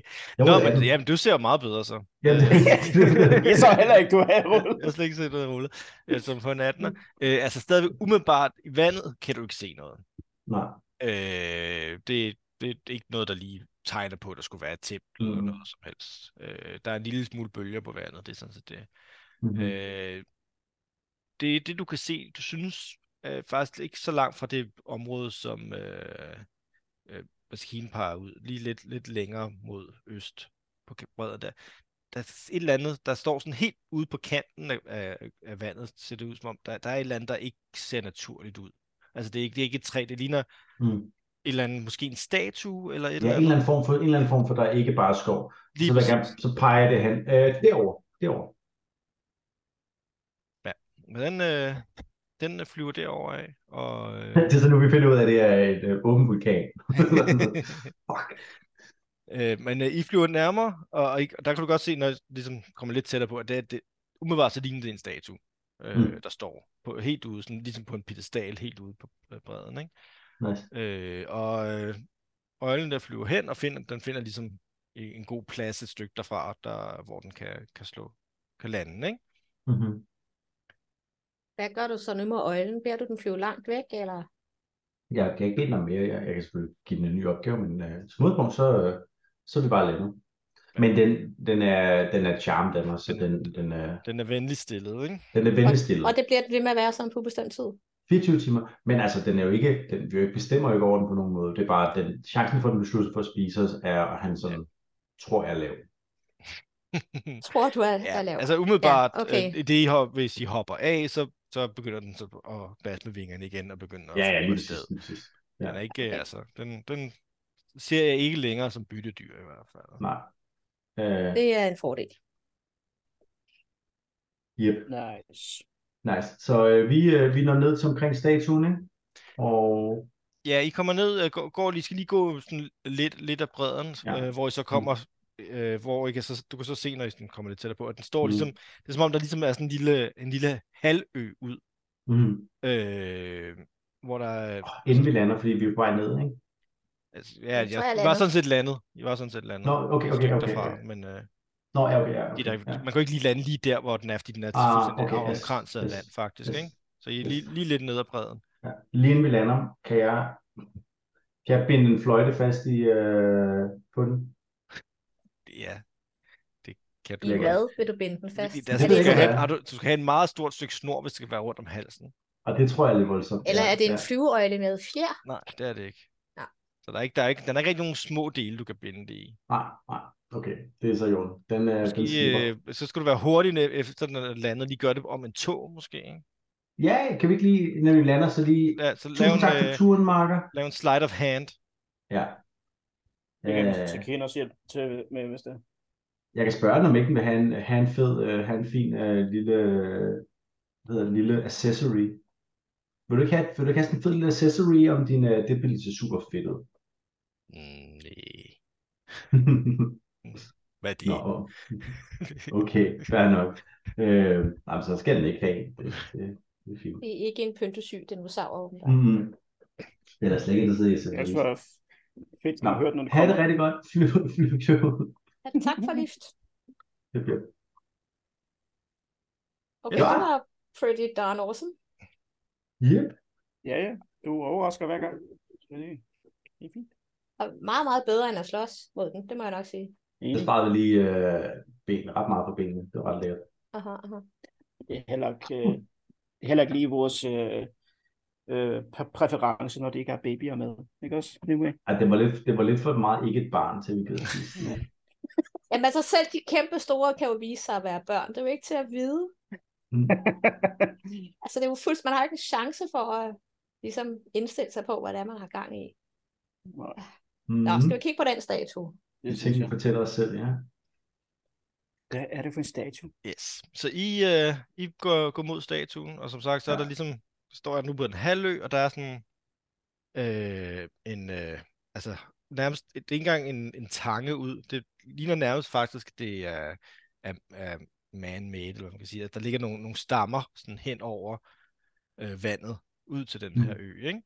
S2: Nå,
S4: Jeg rullede
S2: men
S4: atten.
S2: jamen, du ser jo meget bedre så.
S4: Ja, det-
S5: Jeg så heller ikke, du havde
S2: Jeg har slet ikke set noget rulle, øh, som på en 18'er. Øh, altså stadigvæk umiddelbart i vandet kan du ikke se noget.
S4: Nej.
S2: Øh, det, det er ikke noget, der lige tegner på, at der skulle være et tæppe eller
S4: Mhm.
S2: noget som helst. Øh, der er en lille smule bølger på vandet, det er sådan set det.
S4: Mhm.
S2: Øh, det er det, du kan se. Du synes øh, faktisk ikke så langt fra det område, som øh, øh, maskinen peger ud. Lige lidt, lidt længere mod øst på ka- bredden der. Der er et eller andet, der står sådan helt ude på kanten af, af, af vandet, ser det ud som om. Der, der er et eller andet, der ikke ser naturligt ud. Altså det er ikke, det er ikke et træ, det ligner
S4: Mm.
S2: et eller andet, måske en statue eller et
S4: Ja,
S2: eller
S4: en eller
S2: andet.
S4: anden form for, en eller anden form for, der er ikke bare skov.
S2: Lige
S4: Så, vil jeg
S2: præcis.
S4: gerne, så peger jeg det hen. Øh, derovre. Derovre.
S2: Men den, øh, den flyver derover af, og... Øh,
S4: Det er så nu, vi finder ud af, at det er et øh, åben vulkan. Fuck.
S2: Øh, men øh, I flyver nærmere, og, og, I, og der kan du godt se, når I ligesom kommer lidt tættere på, at det, er- det umiddelbart så ligner det en statue, øh,
S4: Mm.
S2: der står på, helt ude, sådan, ligesom på en pedestal helt ude på øh, bredden. Ikke?
S4: Nice.
S2: Øh, og øh, øjlen der flyver hen, og finder, den finder ligesom en en god plads et stykke derfra, der, hvor den kan, kan slå, kan lande. Ikke?
S4: Mm-hmm.
S3: Hvad gør du så nu med øjlen? Bærer du den flyve langt væk, eller?
S4: Jeg kan ikke bede den om mere. Jeg, jeg kan selvfølgelig give den en ny opgave, men øh, som udgangspunkt, så, øh, så er vi bare landet. Men den, den er, den er charmed af mig, så den, den er,
S2: Den er venligt stillet, ikke?
S4: den er venlig stillet.
S3: Og det bliver det ved med at være sådan på bestemt tid.
S4: 24 timer, men altså, den er jo ikke, den, vi jo ikke bestemmer jo ikke over den på nogen måde. Det er bare, den chancen for, at den beslutter sig for at spise os, er, at han sådan, tror jeg, er lav.
S3: Tror du, at
S2: Ja,
S3: jeg laver?
S2: altså umiddelbart, ja, okay.
S3: okay.
S2: øh, det I hop, hvis I hopper af, så, så begynder den så at basse med vingerne igen, og begynder
S4: Ja,
S2: at
S4: ja,
S2: flyve
S4: lige
S2: afsted.
S4: præcis. lige præcis.
S2: Den
S4: Ja.
S2: er ikke, okay.
S3: Okay.
S2: altså, den, den ser jeg ikke længere som byttedyr i hvert fald.
S4: Nej. Øh,
S3: Det er en fordel.
S4: yep.
S5: Nice.
S4: Nice. Så øh, vi, øh, vi når ned til omkring statuen, ikke? Og
S2: Ja, I kommer ned, øh, går, går lige, skal lige gå sådan lidt, lidt af bredden, ja.
S4: Ja.
S2: øh, hvor I så kommer, øh, hvor I kan så, du kan så se, når I sådan kommer lidt tættere på, at den står
S4: Mm.
S2: ligesom, det er som om, der ligesom er sådan en lille, en lille halvø ud,
S4: mm,
S2: øh, hvor der, er-
S4: inden vi lander, fordi vi er på vej ned, ikke?
S2: altså, ja, jeg,
S3: tror, jeg
S2: I var
S3: lander.
S2: sådan set landet, I var sådan set landet.
S4: Nå, okay,
S2: et
S4: okay,
S2: stykke
S4: okay.
S2: Mm. derfra,
S4: okay.
S2: men øh,
S4: Nå, ja, okay, ja,
S2: de
S4: okay.
S2: der,
S4: ja.
S2: man kan jo ikke lige lande lige der, hvor den er, fordi den er
S4: Ah,
S2: fuldstændig
S4: okay, yes,
S2: omkranset af
S4: yes,
S2: land, faktisk,
S4: yes,
S2: ikke? Så I er
S4: yes.
S2: lige, lige lidt ned ad bredden.
S4: Ja. Lige inden vi lander, kan jeg, kan jeg binde en fløjte fast i, øh, på den?
S2: Ja, det kan du
S3: I
S4: Lækkert.
S3: hvad vil du binde den fast?
S2: Det,
S3: Er
S2: der, skal
S4: ved
S3: det
S2: du,
S4: jeg
S2: skal
S4: ikke,
S3: sådan,
S4: hvad
S2: have,
S4: er.
S2: har du, du skal have en meget stort stykke snor, hvis det skal være rundt om halsen.
S4: Og det tror jeg er lidt voldsomt.
S3: eller
S4: ja,
S3: er det en
S4: ja.
S3: flyveøjle med fjer?
S2: Nej, det er det ikke.
S3: Nej.
S2: Så der er ikke, der er ikke, den er ikke rigtig nogen små dele, du kan binde det i.
S4: Nej, nej. Ah, Okay, det er så jorden. Den, øh, den
S2: Måske,
S4: slipper.
S2: øh, så skal du være hurtig, ne- efter den er landet, lige gøre det om en tog, måske. Ikke?
S4: Ja, kan vi ikke lige, når vi lander, så lige...
S2: Ja, så lav
S4: Tusind
S2: en,
S4: tak for
S2: øh,
S4: turen, Marker.
S2: lav en slide of hand.
S4: Ja.
S5: Jeg kan,
S4: Øh,
S5: så kan jeg også hjælpe til med, hvis det er.
S4: jeg kan spørge den, om ikke den vil have en, have en fed, øh, have en fin øh, lille, øh, hvad hedder det, lille accessory. Vil du ikke have, vil du ikke have sådan en fed lille accessory om din, øh, det bliver så super fedt ud.
S2: Mm, nej. Hvad er det?
S4: Nå, okay, fair nok. Øh, nej, så skal den ikke have en. Det, det, det er fint.
S3: Det er ikke en pyntesyg dinosaur. åbenbart.
S4: Mm. Det er da slet ikke interesseret i
S5: Jeg
S4: accessories.
S5: tror, det er fedt,
S4: Nå,
S5: når hørt, når det
S4: Ha' det
S5: kommer.
S4: rigtig godt. Fly, fly, fly.
S3: Tak for lift.
S4: Det bliver
S3: Okay,
S4: Ja.
S3: det var pretty darn awesome.
S4: Yep.
S5: Ja, ja. Du overrasker hver gang. Så det det er fint.
S3: Og meget, meget bedre end at slås mod den, det må jeg nok sige.
S4: Jeg
S5: Enig.
S4: sparede lige øh, ben, ret meget på benene. Det var ret lækkert.
S3: Aha, aha.
S5: Det er heller ikke, øh, heller ikke lige vores øh, øh, præ- præference, når det ikke er babyer med. Ikke også? Anyway.
S4: Ej, det var lidt, det var lidt for meget ikke et barn, til vi gad spise. den.
S3: Jamen altså selv de kæmpe store kan jo vise sig at være børn. Det er jo ikke til at vide.
S4: Mm.
S3: Altså, det er jo fuldstændig, man har ikke en chance for at ligesom indstille sig på, hvad det er, man har gang i.
S5: Nej,
S4: Mm.
S3: Nå,
S2: Mhm.
S3: skal vi kigge på den statue?
S4: Det
S5: det
S4: tænker
S5: synes
S4: vi
S5: jeg.
S4: fortæller os selv, ja.
S5: Hvad er det for en statue?
S2: Yes. Så I, øh, I går, går mod statuen, og som sagt, så er der
S4: Ja.
S2: ligesom, står jeg nu på en halvø, og der er sådan øh, en, øh, altså nærmest, det er ikke engang en, en tange ud, det ligner nærmest faktisk, det er, er, er man-made, eller hvad man kan sige, at der ligger nogle, nogle stammer sådan hen over øh, vandet, ud til den her
S4: Mm.
S2: ø, ikke?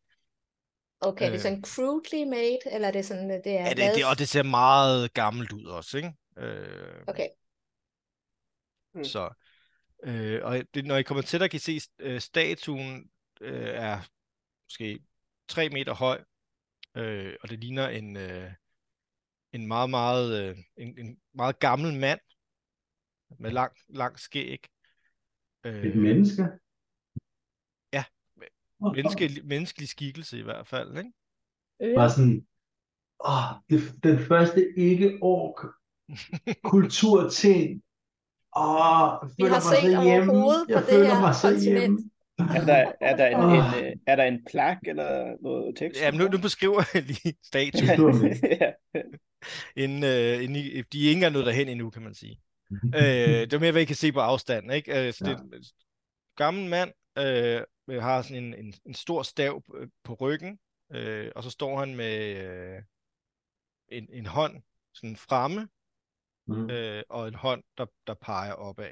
S3: Okay, øh. det
S2: Øh.
S3: er sådan crudely made, eller er det sådan, øh, det er...
S2: Ja, det,
S3: lavet-
S2: det, og det ser meget gammelt ud også, ikke? Øh,
S3: Okay,
S4: Hmm.
S5: Mm.
S2: Så, øh, og det, når I kommer til, der kan I se, øh, statuen øh, er måske 3 meter høj, øh, og det ligner en, øh, en meget, meget, øh, en, en meget gammel mand med lang, lang skæg.
S4: Et
S2: Øh,
S4: menneske.
S2: Ja.
S4: Åh, åh.
S2: menneske, Øh, menneskelig skikkelse i hvert fald, ikke?
S3: Øh.
S4: Bare sådan, åh, det, den første ikke ork kulturting. Åh, jeg
S3: Vi
S4: føler
S3: har
S4: mig så
S3: set
S4: hjemme.
S3: overhovedet på
S4: Jeg
S3: det
S4: føler
S3: her
S4: mig så
S3: kontinent.
S4: hjemme.
S5: Er der, er der en,
S4: Ah.
S5: en, øh, er der en plak eller noget tekst?
S2: Ja, men nu, nu beskriver jeg lige statuen,
S4: beskriver vi.
S5: ja.
S2: inden, øh, inden I, de er ikke engang nået derhen endnu, kan man sige. Øh, det er mere, hvad I kan se på afstand. Ikke? Øh, så det er en gammel mand, øh, med- har sådan en, en, en stor stav p- på ryggen, øh, og så står han med øh, en, en hånd sådan fremme,
S4: Mm.
S2: øh, og en hånd, der, der peger opad.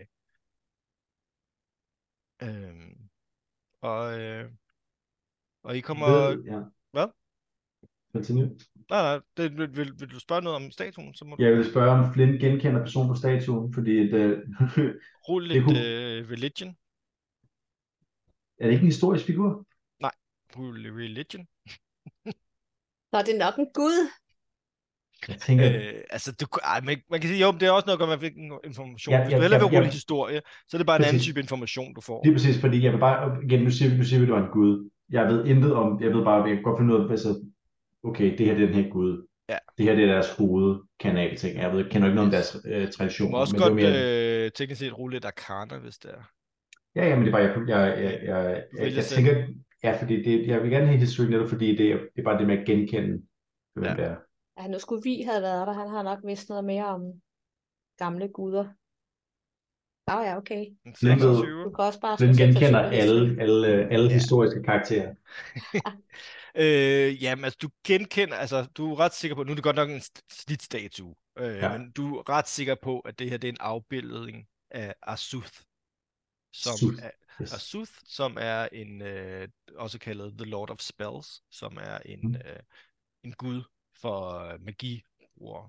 S2: Øh, og, øh, og I kommer...
S4: Ved- ja.
S2: Hvad?
S4: Continue.
S2: Nej, nej, det, vil, vil, vil du spørge noget om statuen, så må du
S4: Jeg vil spørge, om Flint genkender personen på statuen, fordi at, øh,
S2: rulle
S4: det
S2: lidt
S4: kunne-
S2: øh, religion.
S4: er det ikke en historisk figur?
S2: Rulle religion.
S3: Nå, det er nok en gud.
S4: Jeg tænker,
S2: Øh, altså, du, ej, man, man kan sige, jo, men det er også noget at gøre med, hvilken information.
S4: Ja,
S2: Hvis
S4: ja,
S2: du hellere
S4: ja,
S2: vil rulle
S4: ja.
S2: historie, så er det bare en anden
S4: Præcis.
S2: type information, du får.
S4: Lige præcis, fordi jeg vil bare, igen, nu siger vi, nu siger vi, det var en gud. Jeg ved intet om, jeg ved bare, jeg kan godt finde ud af, altså, okay, det her det er den her gud.
S2: Ja.
S4: Det her det er deres hovedkanal, ting. Jeg ved, jeg kender ikke noget om deres øh,
S2: Du
S4: tradition.
S2: må også
S4: men det var
S2: godt
S4: mere,
S2: øh, teknisk set rulle lidt arcana, hvis det er.
S4: Ja, ja, men det er bare, jeg, jeg, jeg, jeg, jeg,
S2: vælger
S4: jeg
S2: selv.
S4: tænker, ja, fordi det, jeg vil gerne have historik netop, fordi det, er- det er bare det med at genkende, hvem
S2: Ja.
S4: det er.
S3: Ja, nu skulle vi have været der. Han har nok vidst noget mere om gamle guder. Nå ja, okay.
S2: En
S4: Flint ved-
S2: 26.
S3: Du kan også bare...
S4: Den
S3: slå
S4: genkender
S3: sensationalist.
S4: alle, alle, alle
S2: Ja.
S4: historiske karakterer.
S2: Øh, jamen, altså, du genkender, altså, du er ret sikker på, nu er det godt nok en st- slidt statue, øh,
S4: Ja.
S2: men du er ret sikker på, at det her, det er en afbildning af Asuth, som
S4: Suth.
S2: er,
S4: Yes.
S2: Asuth, som er en, øh, også kaldet The Lord of Spells, som er en,
S4: Mm.
S2: øh, en gud for øh, magi. Wow.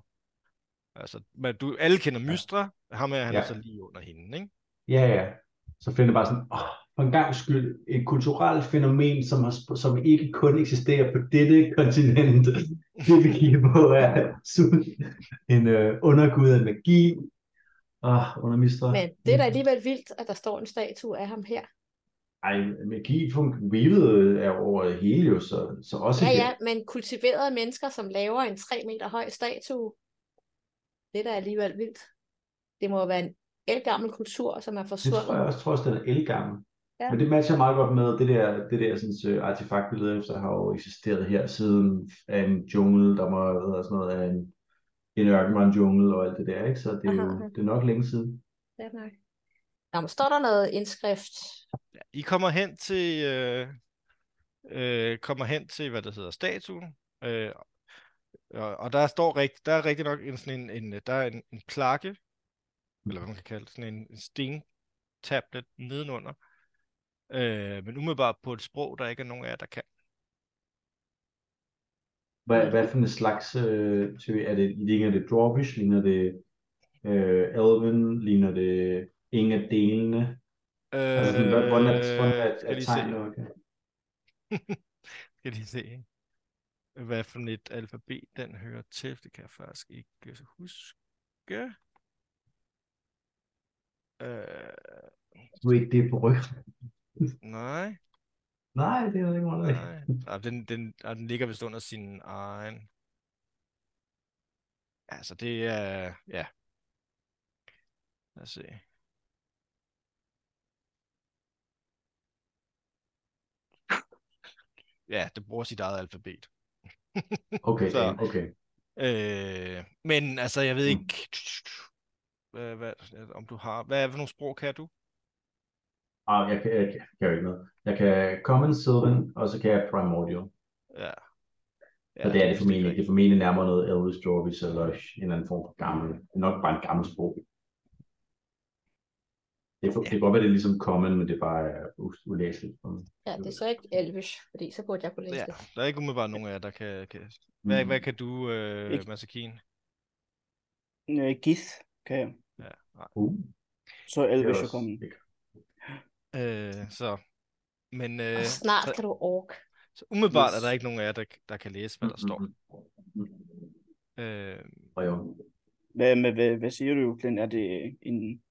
S2: Altså, men du, alle kender Mystra, ham er han
S4: Ja.
S2: ja. så lige under hende, ikke?
S4: Ja, ja. Så finder jeg bare sådan, åh, for en gang skyld, et kulturelt fænomen, som, har, sp- som ikke kun eksisterer på dette kontinent. Det vi kigger på er Suth, en øh, undergud af magi. Åh, under Mistra.
S3: Men det er da alligevel vildt, at der står en statue af ham her.
S4: Ej, magi fungerer hvilet er over det hele jo, så, så også
S3: Ja,
S4: det.
S3: ja, men kultiverede mennesker, som laver en 3 meter høj statue, det er da alligevel vildt. Det må jo være en elgammel kultur, som er
S4: Det tror jeg
S3: forsvundet.
S4: også, tror også, den er elgammel.
S3: Ja.
S4: Men det matcher meget godt med det der, det der sådan, så artefakt, vi leder efter, har jo eksisteret her siden af en jungle, der må have været sådan noget af en, en ørken var en jungle og alt det der, ikke? Så det er
S3: Aha,
S4: jo
S3: aha.
S4: det er nok længe siden.
S3: Ja, nej. Nå, men står der noget indskrift?
S2: Ja, I kommer hen til, øh, øh, kommer hen til, hvad det hedder, statuen, øh, og, og der står rigt, der er rigtig nok en, sådan en, en, øh, der er en, en plakke, eller hvad man kan kalde det, sådan en, en stentablet nedenunder, øh, men umiddelbart på et sprog, der ikke er nogen af jer, der kan.
S4: Hvad, hvad for en slags øh, tøj er det? Ligner det Dwarvish? Ligner det øh, Elven? Ligner det ingen af delene? Altså, sådan, hvad- hvordan er, hvordan er,
S2: Øh, skal
S4: er
S2: lige se.
S4: tegnet? Okay.
S2: Skal lige se, øh, hvad for et alfabet den hører til. Det kan jeg faktisk ikke huske. Øh,
S4: Du er ikke det på ryggen.
S2: nej,
S4: Nej, det er der ikke meget af.
S2: nej. Ej, Den, den, ej, den ligger vist under sin egen. Altså, det er... Ja. Lad os se. ja, det bruger sit eget alfabet.
S4: Okay,
S2: Så-
S4: ja, okay.
S2: Øh, men altså, jeg ved
S4: Mm.
S2: ikke, hvad, hvad, om du har, hvad for nogle sprog kan du?
S4: Ah, jeg, kan, jeg, kan- jeg kan jo ikke noget. Jeg kan Common Sylvan, og så kan jeg Primordial.
S2: Ja.
S4: Ja, og det er det
S2: vist
S4: formentlig.
S2: rigtigt.
S4: Det er formentlig nærmere noget Eldritch Dwarvish eller en eller anden form for gammel. Det er nok bare en gammel sprog. Det, er for,
S2: Ja.
S4: det kan godt være, det er ligesom Common, men det er bare uh, u- ulæseligt. for mig.
S3: Ja, det er så ikke elvish, fordi så burde jeg kunne læse
S2: Ja,
S3: det.
S2: der er ikke umiddelbart nogen af jer, der kan... kan...
S4: Mm.
S2: Hvad, hvad kan du, øh,
S5: Ikke-
S2: Masakin?
S5: Øh, Gith kan jeg.
S4: Uh,
S5: Så
S4: det er
S5: Elvish er
S4: også-
S5: kommet.
S4: det-
S2: Øh, så... Men
S3: Og
S2: øh,
S3: snart
S2: så,
S3: kan du ork.
S2: så umiddelbart er
S5: Yes.
S2: der ikke nogen af jer, der, der kan læse, hvad der står.
S4: Mm.
S2: Øh,
S4: Og jo.
S5: Hvad, med, hvad, hvad siger du, Glenn? Er det en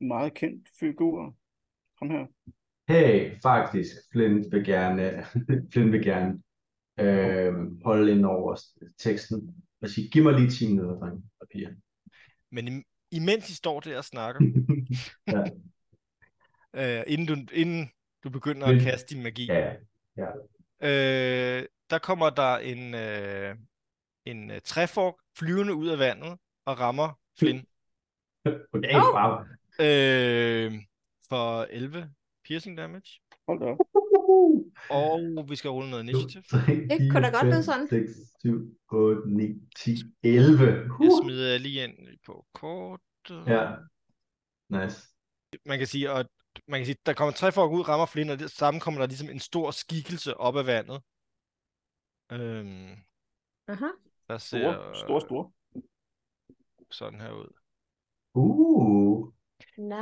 S5: meget kendt figur? Kom her.
S4: Hey, faktisk, Flint vil gerne, Flint vil gerne øh, holde ind over teksten og sige, giv mig lige 10 minutter, drenge og piger.
S2: men im, imens I står der og snakker,
S4: Ja.
S2: øh, inden, du, inden du begynder
S4: Men-
S2: at kaste din magi,
S4: Ja, ja.
S2: øh, der kommer der en, øh, en øh, træfork flyvende ud af vandet og rammer Flynn.
S4: Okay,
S3: Åh!
S4: wow.
S2: Øh, for 11 piercing damage.
S5: Hold da op.
S2: Og vi skal rulle noget initiativ.
S4: 3,
S3: Det kunne da godt lyde sådan.
S4: 6, 7, 8, 9, 10, 11.
S2: Jeg
S4: Huh.
S2: smider jeg lige ind på kort.
S4: Uh, Ja. Nice.
S2: Man kan sige, og man kan sige, der kommer tre folk ud, rammer Flynn, og det samme kommer der ligesom en stor skikkelse op af vandet. Øhm,
S3: Aha.
S2: der
S5: Stor,
S2: ser
S5: stor, stor.
S2: sådan her ud.
S4: Uh,
S3: Nej.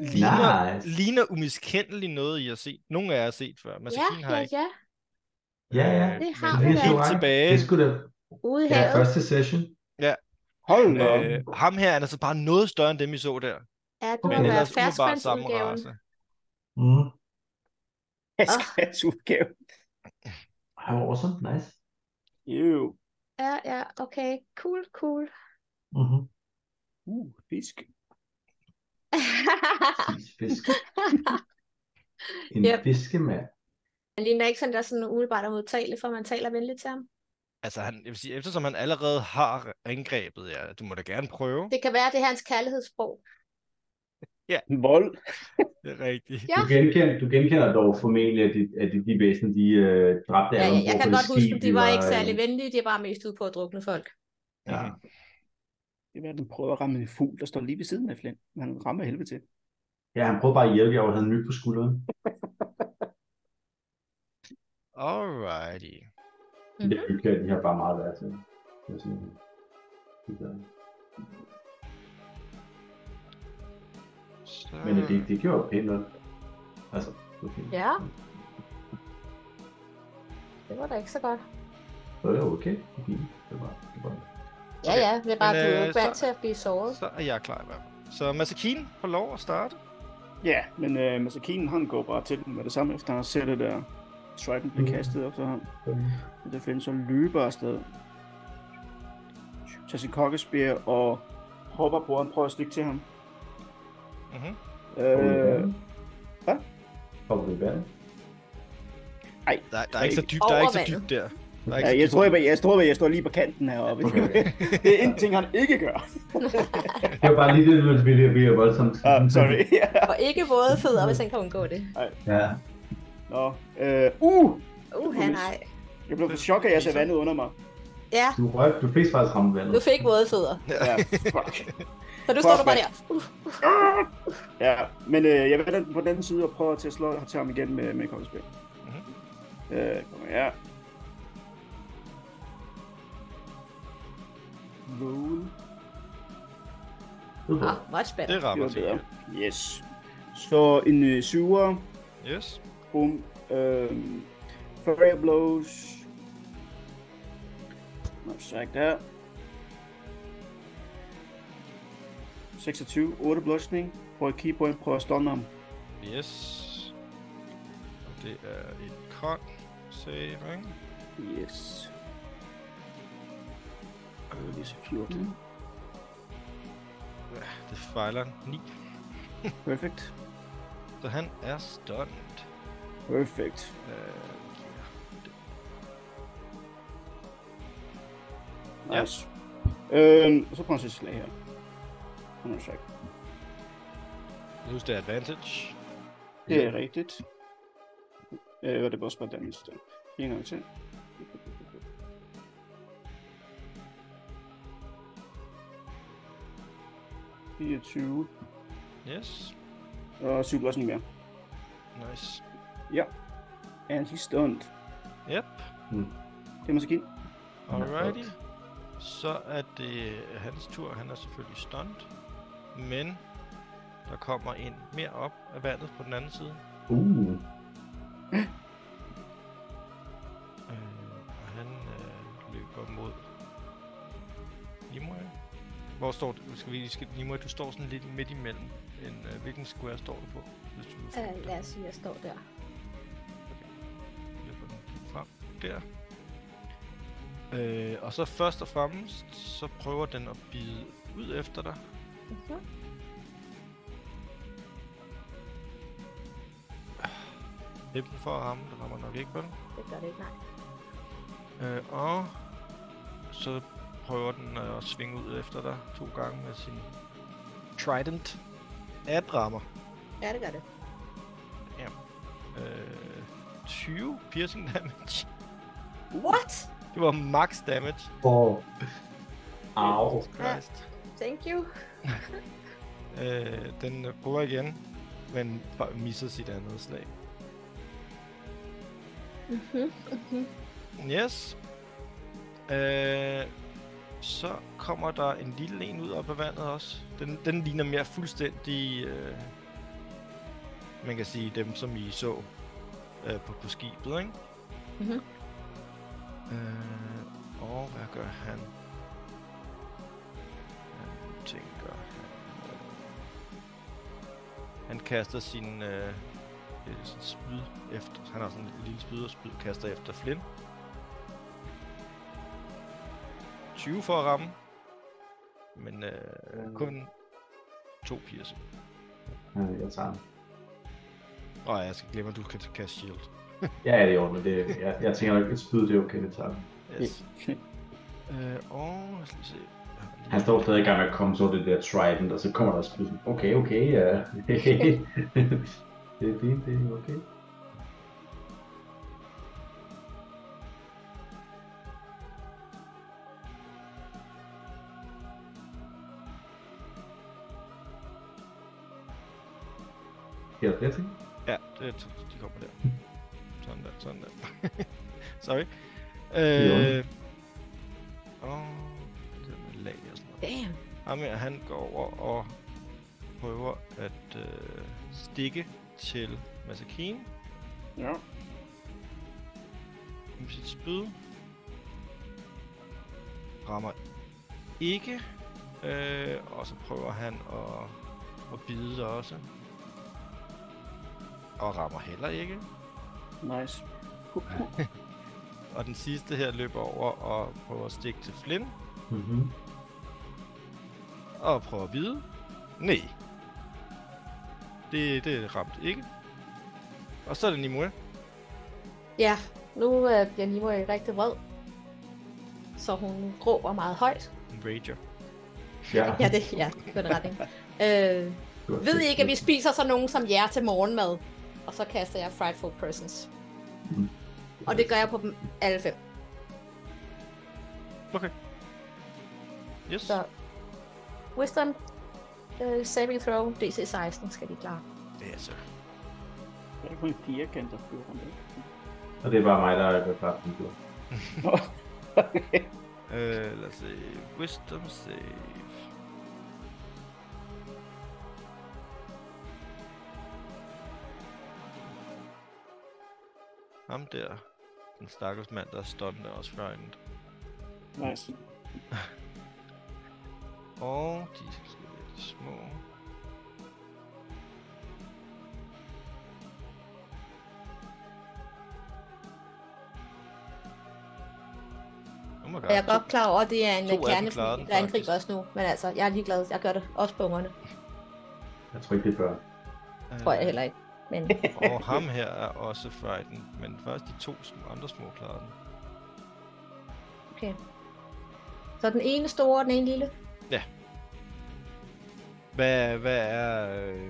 S2: Ligner,
S4: nice.
S2: ligner umiskendeligt noget, I har set. Nogle af jer har set før. Mads
S3: Ja,
S2: Akin har
S3: ja,
S2: ikke.
S3: ja.
S4: Ja, ja.
S2: Øh,
S3: Det
S2: men
S3: har
S4: Det
S3: vi
S4: er
S3: da.
S4: så
S2: helt
S4: right.
S2: tilbage.
S4: Det skulle da
S3: Ude i
S4: ja,
S3: havet.
S4: første session.
S5: Hold da op.
S2: Øh, ham her han er altså bare noget større end dem, I så der.
S3: Ja, det
S4: Okay.
S3: må
S2: Men
S3: være
S2: ellers umiddelbart altså. samme
S3: ferskvandsudgaven.
S2: race.
S4: Mm.
S5: Askas udgave.
S4: Ej, hvor awesome. Nice.
S5: Jo.
S3: Ja, ja, okay. Cool, cool.
S4: Mhm.
S5: Uh, fisk.
S4: Spis fisk. En
S3: Yep.
S4: fiskemand.
S3: Han ligner ikke sådan, der er sådan umiddelbart er modtagelig, for man taler venligt til ham.
S2: Altså, han, jeg vil sige, eftersom han allerede har angrebet jer, ja, du må da gerne prøve.
S3: Det kan være, det er hans kærlighedssprog.
S5: Vold.
S2: Det er rigtigt.
S3: Ja.
S4: Du genkender, du genkender dog formentlig, at de, at de, de væsener, de øh, dræbte
S3: Ja,
S4: alle
S3: ja,
S4: ombord
S3: jeg
S4: på
S3: kan
S4: det
S3: godt huske,
S4: skib,
S3: at de var ikke
S4: øh,
S3: særlig venlige, de var bare mest ude på at drukne folk.
S4: Ja.
S5: Det er, at den prøver at ramme en fugl, der står lige ved siden af Flint. Men han rammer helvede til.
S4: ja, han prøvede bare at hjælpe jer, og havde en my på skulderen.
S2: Alrighty.
S4: Mm-hmm. Det bygger de her bare meget værd til. Det er sådan- det er-
S2: Så...
S4: Men det, det gjorde jo pænt noget. Altså, okay.
S3: Ja. Det var da ikke så godt.
S4: Så er det okay. okay. Det var, det var.
S3: Ja,
S2: Okay.
S3: ja, det er bare,
S2: Men,
S3: du er jo
S2: øh,
S3: ikke vant
S2: så-
S3: til at blive såret.
S2: Så er jeg klar i hvert fald. Så Masakine får lov at starte.
S5: Ja, men øh, Masakinen, han går bare til den med det samme, efter han ser det der stripen blive
S4: Mm.
S5: kastet efter ham. Og der findes så løber afsted. Tager sin kokkespær og hopper på, og prøver at stikke til ham.
S2: Mhm.
S5: Øh, hvad?
S4: Kommer du i vandet?
S5: ej,
S2: Der, der, er ikke så dybt, der er
S3: Over
S2: ikke så
S3: vandet.
S2: dybt der. der er
S5: Ja,
S2: så
S5: jeg
S2: dybt.
S5: tror, jeg, jeg, tror, jeg står lige på kanten heroppe.
S4: Okay.
S5: det er en ting, han ikke gør.
S4: Det var bare lige det, du ville blive voldsomt.
S5: Uh, sorry.
S3: Og ikke våde fødder, hvis han kan undgå det.
S4: Ja.
S5: Nå, øh, uh,
S3: Uh, han nej.
S5: jeg blev for chok, at jeg ser vandet under mig.
S3: Ja,
S4: Du røg, du fik faktisk ramt vandet.
S3: du fik våde fødder.
S5: Ja, fuck.
S3: Så du står
S5: Fuck,
S3: du bare
S5: mand.
S3: der. Uh,
S5: Ja, men øh, jeg vil den på den anden side og prøver til at slå og tage ham igen med, med kokkespil.
S2: Mhm.
S5: Øh, kommer jeg. Roll.
S4: Du
S3: oh, much better.
S2: Det
S5: Det
S2: rammer
S5: var
S2: til.
S5: bedre. Yes. Så en øh, syver.
S2: Yes.
S5: Boom. Øhm, Fire blows. Much like that. 26, 8 blushning. Prøv at key point, prøv at stunne ham.
S2: Yes. Og det er et con save, ikke?
S5: Yes. Øh, det er så 14.
S2: Ja, det fejler 9.
S5: Perfect.
S2: Så han er stunned.
S5: Perfect.
S2: Øh, giver Ja.
S5: Nice. Øhm, og så prøver han sit slag her. Hun er sagt.
S2: Husk, det er advantage.
S5: Det er rigtigt. Øh, og det var også bare damage der. En gang til. Det 20.
S2: Yes.
S5: Og 7 blåsning mere.
S2: Nice.
S5: And he's stunned.
S2: Yep.
S5: Det er måske
S2: Alrighty. Så er det hans tur. Han er selvfølgelig stunned. Men der kommer en mere op af vandet på den anden side.
S4: Uh,
S2: Øh, og han øh, løber mod Nimue. Hvor står du? Skal vi, skal, Nimue, du står sådan lidt midt imellem. En, øh, hvilken square står du på? Hvis du vil
S3: Øh,
S2: finde
S3: lad
S2: den?
S3: os sige, jeg står der.
S2: Jeg får den frem der. Øh, og så først og fremmest, så prøver den at bide ud efter dig.
S3: Mhm.
S2: Enten for at ramme, det rammer nok ikke, vel?
S3: Det gør det ikke, nej.
S2: Øh, og så prøver den øh, at svinge ud efter dig to gange med sin trident. At rammer.
S1: Ja, det gør det.
S2: Øh, 20 piercing damage.
S3: What?
S2: Det var max damage.
S4: for... Au.
S2: Christ.
S3: Thank you.
S2: Øh, den øh, prøver igen, men bare misser sit andet slag.
S3: Mhm.
S2: Yes. Øh, så kommer der en lille en ud op af vandet også. Den, den ligner mere fuldstændig... Øh, man kan sige dem, som I så øh, på, på skibet, ikke?
S3: Mhm.
S2: Øh, og hvad gør han? Han tænker... Han, han kaster sin... Øh, øh, sådan spyd efter... Han har sådan en lille spyd og spyd kaster efter Flynn. 20 for at ramme. Men øh,
S4: Mm.
S2: kun to piercing.
S4: Ja, jeg tager den.
S2: Åh, jeg skal glemme, at du kan kaste shield.
S4: Ja, ja, det er ordentligt. Det, jeg, jeg tænker nok, et spyd, det er okay, det tager den.
S2: Yes. øh, og lad os se. Jeg har lige-
S4: Han står stadig i gang med at komme så det der trident, og så kommer der et spyd. Okay, okay, ja. det er fint, det er okay. Sker der flere ting?
S2: Ja, det, er- de kommer der. Sådan der, sådan der. Sorry. Øh, og det med lag og sådan noget.
S3: Damn.
S2: Ham her, han går over og prøver at øh, stikke til Masakine
S5: Ja.
S2: med sit spyd. Rammer ikke. Øh, og så prøver han at, at bide dig også. Og rammer heller ikke.
S5: Nice.
S2: Og den sidste her løber over og prøver at stikke til Flynn.
S4: Mm-hmm.
S2: Og prøver at bide. Nej. Det, det ramte ikke. Og så er det Nimue.
S3: Ja, nu øh, bliver Nimo rigtig vred. Så hun råber meget højt.
S2: Hun Rager.
S4: Ja,
S3: Ja, det ja, på den retning. øh, ved I ikke, at vi spiser sådan nogen som jer til morgenmad? Og så kaster jeg Frightful Persons.
S4: Mm.
S3: Og det gør jeg på dem alle fem.
S2: Yes.
S3: Så Wisdom uh, Saving Throw DC 16 skal de klare.
S2: Det er så.
S5: Der er kun en firkant, der flyver rundt. ikke?
S4: Og det er bare mig, der er klar på den tur.
S5: Nå, okay.
S2: Øh, lad os se. Wisdom save. Ham der. Den stakkels mand, der er stunned, er også frightened.
S5: nice.
S2: Og de skal være lidt små. Oh my god.
S3: Og jeg er godt klar over, at det er en
S2: To af dem klarer den,
S3: kernefamilie, der angriber os
S2: faktisk.
S3: nu. Men altså, jeg er ligeglad. Jeg gør det også på ungerne.
S4: Jeg tror ikke, det er børn.
S3: Tror
S2: Øh,
S3: jeg heller ikke. Men
S2: ikke. Og ham her er også frightened, men først de to sm- andre små klarer den.
S3: okay. Så den ene store og den ene lille.
S2: Hvad, hvad er... Øh,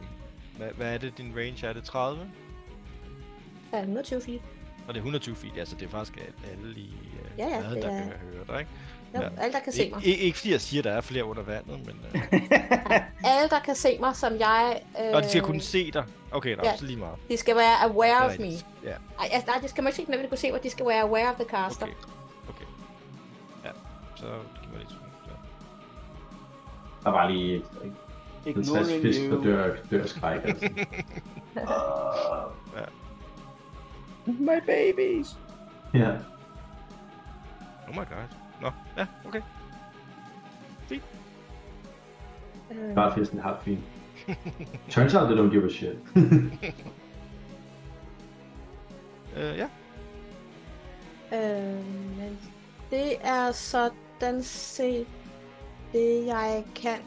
S2: hvad, hvad er det, din range er? Er det 30?
S3: Der er 120 feet.
S2: Og det er 120 feet, altså det er faktisk at alle i øh,
S3: Ja, ja,
S2: hvad,
S3: det
S2: der
S3: er-
S2: kan høre dig, ikke?
S3: Jo,
S2: Ja.
S3: ja. alle, der kan se
S2: Ik-
S3: mig.
S2: ikke, ikke fordi jeg siger, at der er flere under vandet, men... Øh,
S3: Alle, der kan se mig, som jeg... Øh,
S2: og de skal kunne se dig. Okay, nå, ja.
S3: ja.
S2: så lige meget.
S3: De skal være
S2: Det
S3: aware
S2: er
S3: of me.
S2: rigtigt. Ja,
S3: Ej, altså, nej, det skal man ikke se, men de kan se mig. De skal være aware of the caster.
S2: okay. Okay. Ja, så giv mig lidt. Ja.
S4: Der var lige et, et, et 60
S5: Ignoring
S4: fisk, der
S5: you.
S4: dør, dør af skræk. Altså. Åh,
S5: My babies.
S4: ja.
S2: Oh my god. Nå, ja, okay.
S3: Øh,
S4: Bare fisken har det fint. Turns out they don't give a shit.
S2: Øh, ja,
S3: øh, men det er sådan set det, jeg kan.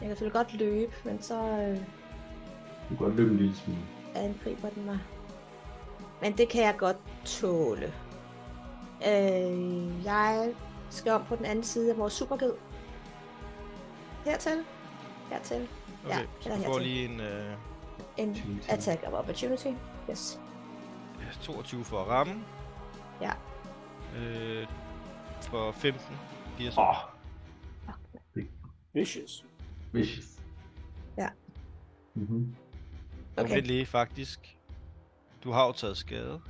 S3: Jeg kan selvfølgelig godt løbe, men så øh,
S4: Du kan godt løbe en lille smule.
S3: angriber den mig. Men det kan jeg godt tåle. Øh, jeg skal om på den anden side af vores superged. Hertil. Hertil.
S2: okay.
S3: Ja,
S2: så
S3: eller
S2: du får
S3: hertil.
S2: lige en øh,
S3: En
S4: Opportunity.
S3: attack of opportunity. Yes.
S2: 22 for at ramme.
S3: Ja.
S2: Øh, for 15. Giver så.
S4: Åh, oh,
S5: Vicious.
S4: vicious.
S3: Ja.
S4: Mm-hmm.
S2: Okay. Vent lige, faktisk. Du har jo taget skade.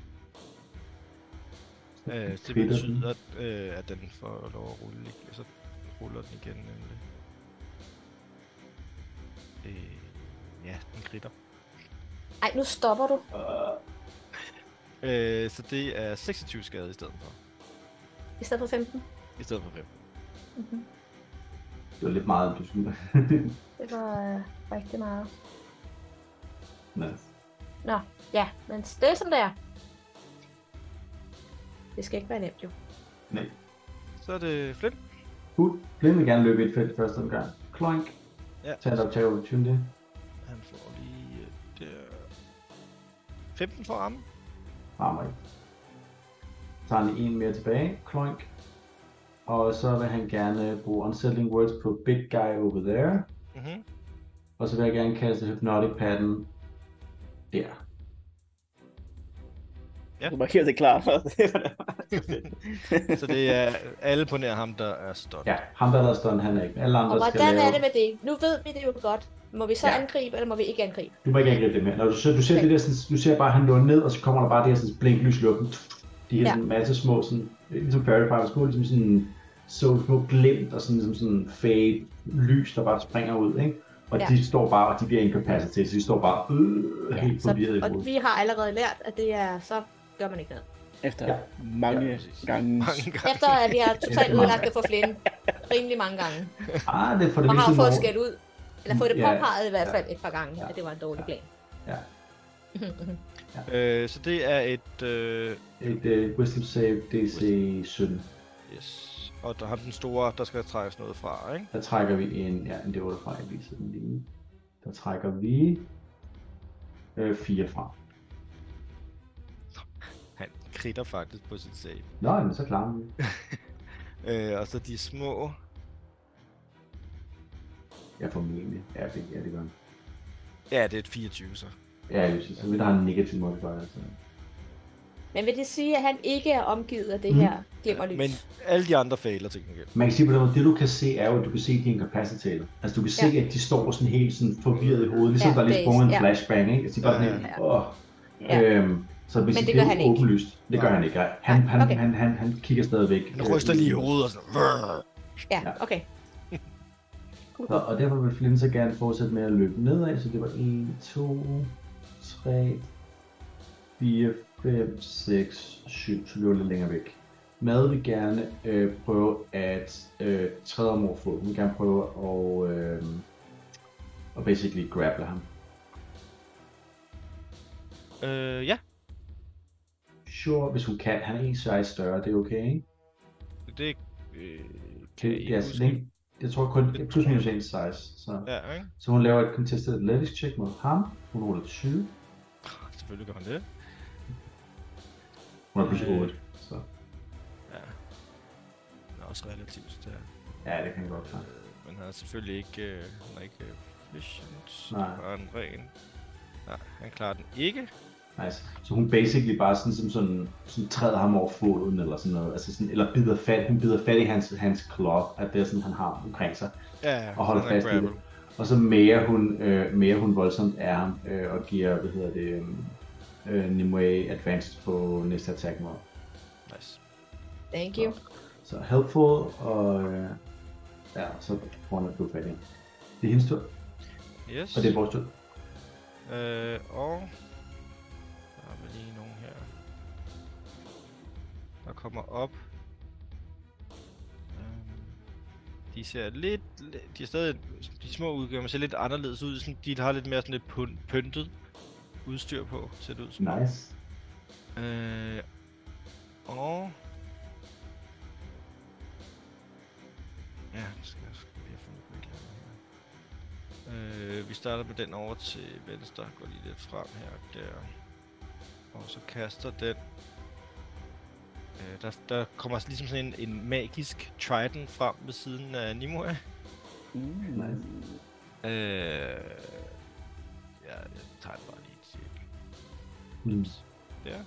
S2: Øh, så det
S4: Fedt.
S2: betyder, at, øh, at den får lov at rulle igen. Så ruller den igen, nemlig. Øh, ja, den kritter.
S3: Ej, nu stopper du.
S4: Uh,
S2: Øh, så det er 26 skade i stedet for.
S3: I stedet for 15.
S2: I stedet for 5.
S3: Mm-hmm.
S4: det var lidt meget, du skulle.
S3: Det var øh, rigtig meget.
S4: Nå.
S3: Nå, ja, men det er som det er. Det skal ikke være nemt, jo.
S4: Nej.
S2: Så er det Flint.
S4: Hul. Blind vil gerne løbe i et felt første omgang. Kloink.
S2: Ja.
S4: Tag et optag opportunity.
S2: Han får lige øh, der... 15 for ham.
S4: Rammer ikke. Tager lige en mere tilbage. Kloink. Og så vil han gerne bruge Unsettling Words på Big Guy over there.
S2: Mhm.
S4: Og så vil jeg gerne kaste Hypnotic Pattern der.
S5: Du markerer det klart. Det var da
S2: Så det er alle på nær ham, der er stående.
S4: Ja, ham der er stående, han er ikke. Alle andre
S3: Og
S4: skal
S3: hvordan
S4: lave...
S3: er det med det? Nu ved vi det jo godt. Må vi så
S4: Ja.
S3: ja. angribe, eller må vi ikke angribe?
S4: Du må ikke angribe det mere. Når du, så, du ser det der, sådan, du ser bare, at han når ned, og så kommer der bare det her sådan, blink lys i luften. De her
S3: Ja.
S4: ja. sådan, masse små, sådan, ligesom Fairy Fire, små, ligesom sådan, så små glimt og sådan, ligesom sådan fade lys, der bare springer ud, ikke? Og
S3: Ja.
S4: ja. de står bare, og de bliver incapacitated, til, så de står bare øh, ja, helt
S3: så,
S4: forvirret i
S3: og
S4: hovedet.
S3: vi har allerede lært, at det er, så gør man ikke noget.
S5: efter
S4: Ja.
S5: mange
S4: Ja,
S5: gange.
S2: Mange gange.
S3: Efter at vi har totalt
S4: mange
S3: ødelagt det for Flynn rimelig mange gange.
S4: Ah, det er for det
S3: Og har
S4: meste
S3: fået
S4: nogen-
S3: skæld ud. Eller fået det
S4: Ja,
S3: påpeget i hvert
S4: ja.
S3: fald et par gange,
S4: Ja.
S3: at det var en dårlig plan.
S4: Ja.
S2: Øh, så det er et... Øh,
S4: Et uh, wisdom save DC 17.
S2: yes. Og der er ham den store, der skal trækkes noget fra, ikke?
S4: Der trækker vi en, ja, en D8 fra, jeg viser den lige. Der trækker vi øh, 4 fra.
S2: Han kritter faktisk på sit save.
S4: Nå, jamen, så klarer vi.
S2: Øh, og så de små...
S4: Ja, formentlig. Ja, det, ja, det gør han.
S2: Ja, det er et 24, så.
S4: Ja, jeg synes, så vil der have en negativ modifier. Altså.
S3: Men vil det sige, at han ikke er omgivet af det
S4: Mhm.
S3: her glimmerlys?
S2: Men alle de andre fejler til gengæld.
S4: Man kan sige på den måde, det du kan se er jo, at du kan se, at de er incapacitated. Altså du kan se, ja. at de står sådan helt sådan forvirret i hovedet, ligesom
S3: Ja,
S4: ja, der lige
S3: base,
S4: sprunget en
S3: ja.
S4: flashbang, ikke? Altså de er bare
S2: Ja,
S4: sådan,
S3: ja.
S4: ja. åh.
S5: Ja.
S4: Øhm, så hvis
S3: Men
S4: Men
S3: det
S4: det,
S3: gør
S4: det er
S3: han
S4: jo
S3: ikke.
S4: åbenlyst. Det gør
S2: Nej.
S4: han ikke. nej. Han, han,
S3: okay.
S4: han, han, han kigger stadigvæk. øh,
S2: Han ryster lige i hovedet og sådan... "Vrrr."
S3: Ja,
S4: Ja.
S3: okay.
S4: Så, og derfor vil Flynn så gerne fortsætte med at løbe nedad, så det var 1, 2, 3, 4, 5, 6, 7, så løber lidt længere væk. Mad vil gerne øh, prøve at øh, træde om overfod. Hun vil gerne prøve at, øh, at basically grapple ham.
S2: Øh, ja.
S4: Sure, hvis hun kan. Han er en size større, det er okay, ikke?
S2: Det øh, kan
S4: Det,
S2: I
S4: ja,
S2: huske?
S4: så længe, jeg tror kun, det er plus minus en size. Så.
S2: Ja, ikke?
S4: så hun laver et contested athletics check mod ham. Hun ruller 20.
S2: Selvfølgelig gør han det.
S4: Hun er plus
S2: Øh.
S4: 8. Så.
S2: også relativt stærk.
S4: Ja, det kan jeg godt klare.
S2: Øh, Men han har selvfølgelig ikke, øh, han har ikke øh, efficient.
S4: Nej.
S2: Nej. en ren. Nej, han klarer den ikke.
S4: Nice. Så hun basically bare sådan, som sådan, sådan træder ham over foden eller sådan noget. Altså sådan, eller bider fat, hun bider fat i hans, hans claw, at det er sådan, han har omkring sig.
S2: Ja, ja,
S4: Og holder
S2: han er
S4: fast i det.
S2: grappled.
S4: Og så mere hun, øh, mere hun voldsomt af ham øh, og giver, hvad hedder det, øhm, øh, Nimue advanced på næste attack mod.
S2: Nice.
S3: Thank you.
S4: Så helpful, og øh, ja, så får han at blive fat i. Det er hendes tur,
S2: Yes.
S4: og det er vores tur.
S2: Øh, og... Der er vel lige nogen her. Der kommer op. Øhm, De ser lidt... li- De er stadig... De små udgaver men ser lidt anderledes ud. Sådan, de har lidt mere sådan lidt pyn- pyntet udstyr på, ser det ud som.
S4: Nice.
S2: Øh, og... Ja, nu skal jeg sgu lige have fundet på et eller andet her. Øh, vi starter med den over til venstre. Går lige lidt frem her. Der. Og så kaster den... Øh, der, der kommer ligesom sådan en, en magisk trident frem ved siden af Nimue.
S5: Mm.
S4: Nice.
S2: Øh, ja, jeg tager den bare lige et tjek.
S4: Mm.
S2: Der.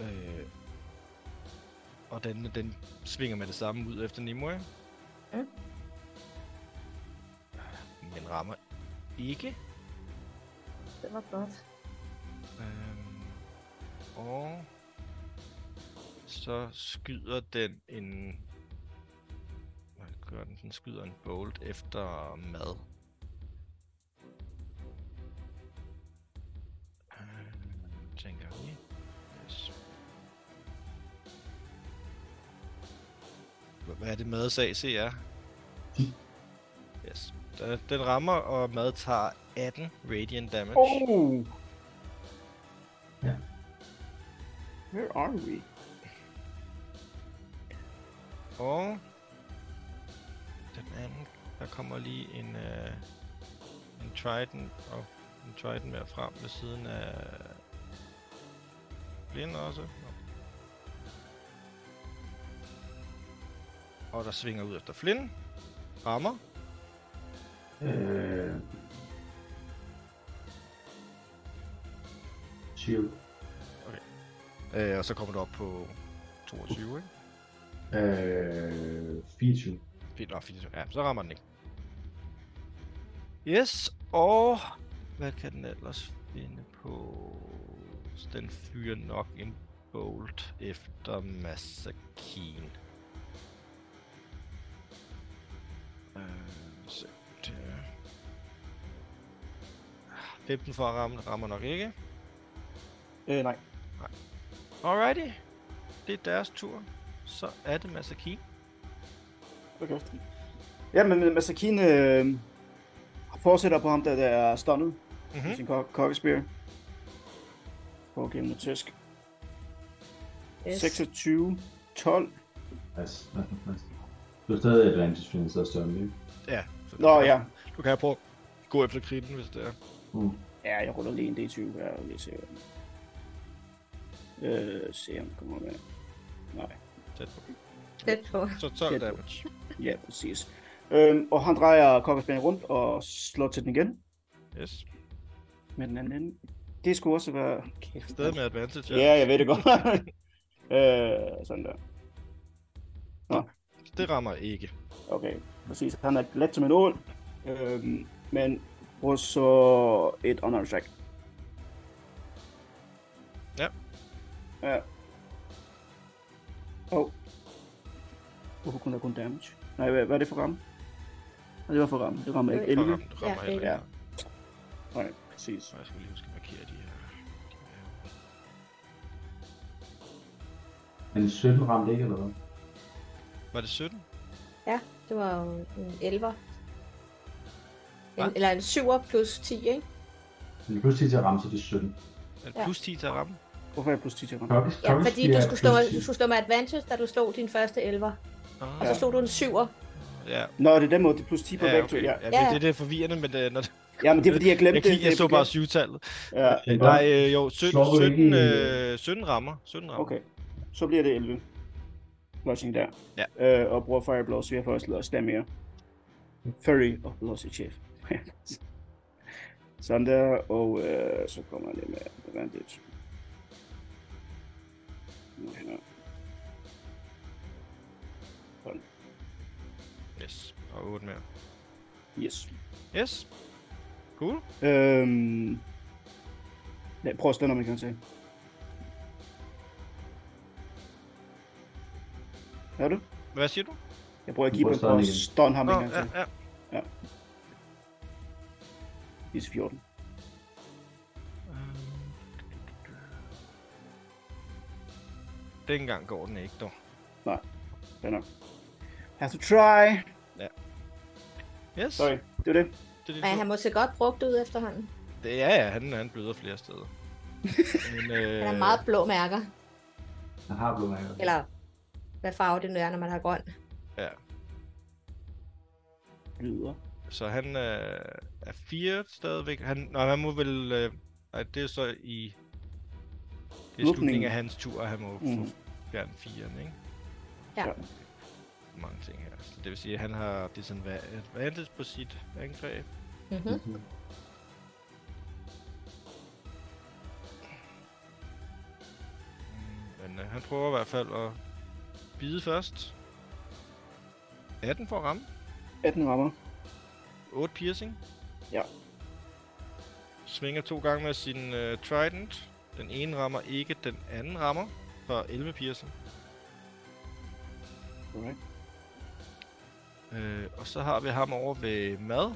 S2: Øh, og den, den svinger med det samme ud efter Nimue.
S3: Ja.
S2: Men rammer ikke.
S3: Det var godt.
S2: Øhm, og så skyder den en... Hvad gør den? Den skyder en bolt efter mad. Øhm, tænker jeg lige. Yes. Hva- Hvad er det mads AC er?
S4: Ti.
S2: Yes. Den- Den rammer, og mad tager 18 radiant damage.
S5: Oh.
S4: Ja.
S5: Where are we?
S2: Og den anden, der kommer lige en, øh, en trident og en trident mere frem ved siden af blind også. Nå. Og der svinger ud efter Flynn. Rammer.
S4: Øh... Shield.
S2: Øh, og så kommer du op på 22, ikke?
S4: Øh... 24.
S2: Fint, nå, fint. Ja, så rammer den ikke. Yes, og hvad kan den ellers finde på? Så den fyrer nok en bolt efter Massakin. Øh, så det... 15 for at ramme, rammer nok ikke.
S5: Øh, nej.
S2: Alrighty, det er deres tur. Så er det Massakin.
S5: Okay. Ja, men Masakin øh, fortsætter på ham, der, der er stunnet mm-hmm. med
S2: Mhm.
S5: sin kok- kokkespire. For at give ham noget tæsk.
S3: Yes.
S5: 26, 12.
S4: Nice, nice, nice. Du har stadig advantage, fordi den sidder større ikke?
S2: Ja. så du
S5: Nå
S2: kan-
S5: ja,
S2: Du kan prøve at gå efter kritten, hvis det er.
S4: Mm.
S5: ja jeg ruller lige en D20 her og lige se, hvad den... Øh, se om den kommer med. Nej,
S2: Tæt på.
S3: Tæt på.
S2: Så 12
S5: Tæt på.
S2: damage.
S5: ja, præcis. Øhm, og han drejer kokkespiren rundt og slår til den igen
S2: Yes.
S5: med den anden ende. Det skulle også være... Kæft,
S2: Stadig med advantage,
S5: Ja, jeg ved det godt. øh, sådan der.
S2: Det rammer ikke.
S5: Okay, præcis. Han er let som en ål, øhm, men bruger så et honor track.
S2: Ja.
S5: Ja. Og... Hvorfor kunne der kun damage? Nej, hvad, hvad er det for ramme? Nej, det var for ramme. Det rammer ikke
S3: Det
S5: 11.
S2: Det rammer, det rammer
S3: Ja,
S2: heller ikke.
S5: elleve. Nej, præcis.
S2: Og jeg skal lige huske at markere de her.
S4: Men 17 ramte ikke, eller hvad?
S2: Var det 17?
S3: Det var jo en 11'er. En,
S2: Hva?
S3: eller en 7'er plus 10, ikke?
S4: Men det pludselig til at ramme, så det er 17.
S2: Er det
S3: Ja.
S2: plus 10 til at ramme?
S5: Hvorfor er jeg plus 10 til at ramme?
S4: Klokkes,
S3: Ja, fordi du skulle, slå, du skulle slå med advantage, da du slog din første 11'er. Og så
S5: Ja.
S3: slog du en 7'er.
S2: Ja,
S5: Nå, det er den måde, det er plus 10 på ja,
S2: ja,
S5: begge
S2: okay.
S5: to.
S2: ja.
S5: Ja.
S3: Ja,
S2: det,
S3: ja.
S2: det, det er forvirrende, men det, når,
S5: ja, men det er fordi, jeg glemte
S2: jeg, kig, jeg
S5: det.
S2: så bare 7-tallet.
S5: Ja,
S4: Ja.
S2: Nej, øh, jo, 17,
S4: Slår du
S2: 17,
S4: ikke i-
S2: øh, 17 rammer. 17 rammer.
S5: okay. Så bliver det 11. lodging der.
S2: Ja.
S5: Øh, og bruger Fireblow, så jeg får også lodge mere. Furry og Velocity Chef. Sådan der, og øh, så kommer jeg lidt med advantage. Nu hænder. Sådan.
S2: Yes. Og 8 mere.
S5: Yes.
S2: Yes. Cool.
S5: Øhm... Ja, prøv at slå, når man kan se. Hør du?
S2: Hvad siger du?
S5: Jeg prøver at
S4: Du
S5: give
S4: prøver
S5: på
S4: at stå
S5: at
S4: igen.
S5: stun ham
S2: Nå,
S5: en gang
S2: ja,
S5: til.
S2: ja.
S5: He's 14.
S2: Øhm. Dengang går den ikke, dog.
S5: Nej, det er nok. Have to try.
S2: Yes.
S5: Sorry, det er det.
S2: Det, er
S3: Men
S2: dit
S3: han må se godt brugt ud efterhånden.
S2: tur. det, ja, ja, han, han bløder flere steder. Men, øh,
S3: Han har meget blå mærker.
S4: Han har blå mærker.
S3: Eller hvad farve det nu er, når man har grøn.
S5: Lyder.
S2: Så han øh, er 4 stadigvæk. Han, nej, han må vel... Øh, nej, det er så i... Det er
S5: Lukningen.
S2: slutningen af hans tur, at han må mm.
S5: Mhm.
S2: få fjernet 4'eren, ikke?
S3: Ja.
S5: Ja.
S2: Mange ting her. Så det vil sige, at han har disadvantage på sit angreb.
S3: Mm-hmm.
S2: Men øh, han prøver i hvert fald at bide først. 18 for at ramme.
S5: 18 rammer.
S2: 8 piercing.
S5: Ja.
S2: Svinger to gange med sin øh, trident. Den ene rammer ikke, den anden rammer. For 11 piercing.
S5: Alright.
S2: Øh, og så har vi ham over ved mad.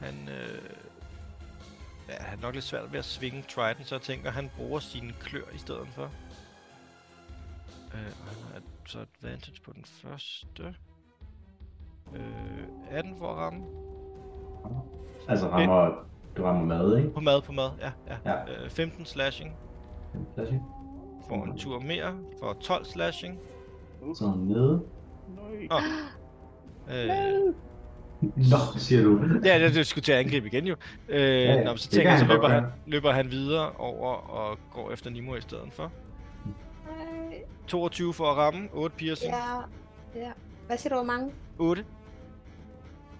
S2: Han, øh, ja, han er nok lidt svært ved at svinge Trident, så jeg tænker, han bruger sine klør i stedet for. Øh, og han har et- så advantage på den første. Øh, 18 for at ramme.
S4: Altså rammer, du rammer mad, ikke?
S2: På mad, på mad, ja. ja.
S4: Ja.
S2: Øh, 15 slashing.
S4: Lad os se.
S2: Får en tur mere. Får 12 slashing.
S4: Så er han nede.
S5: Nøj.
S2: Åh. Øh,
S4: Nå, siger du.
S2: Ja, det, det skulle til at angribe igen jo. Øh, ja,
S4: ja,
S2: Nå, så
S4: det
S2: tænker jeg,
S4: kan
S2: så
S4: han godt
S2: løber han,
S4: gøre.
S2: løber han videre over og går efter Nimo i stedet for. 22 for at ramme, 8 piercing, ja.
S3: Øh, Ja, ja. Hvad siger du, hvor mange?
S2: 8.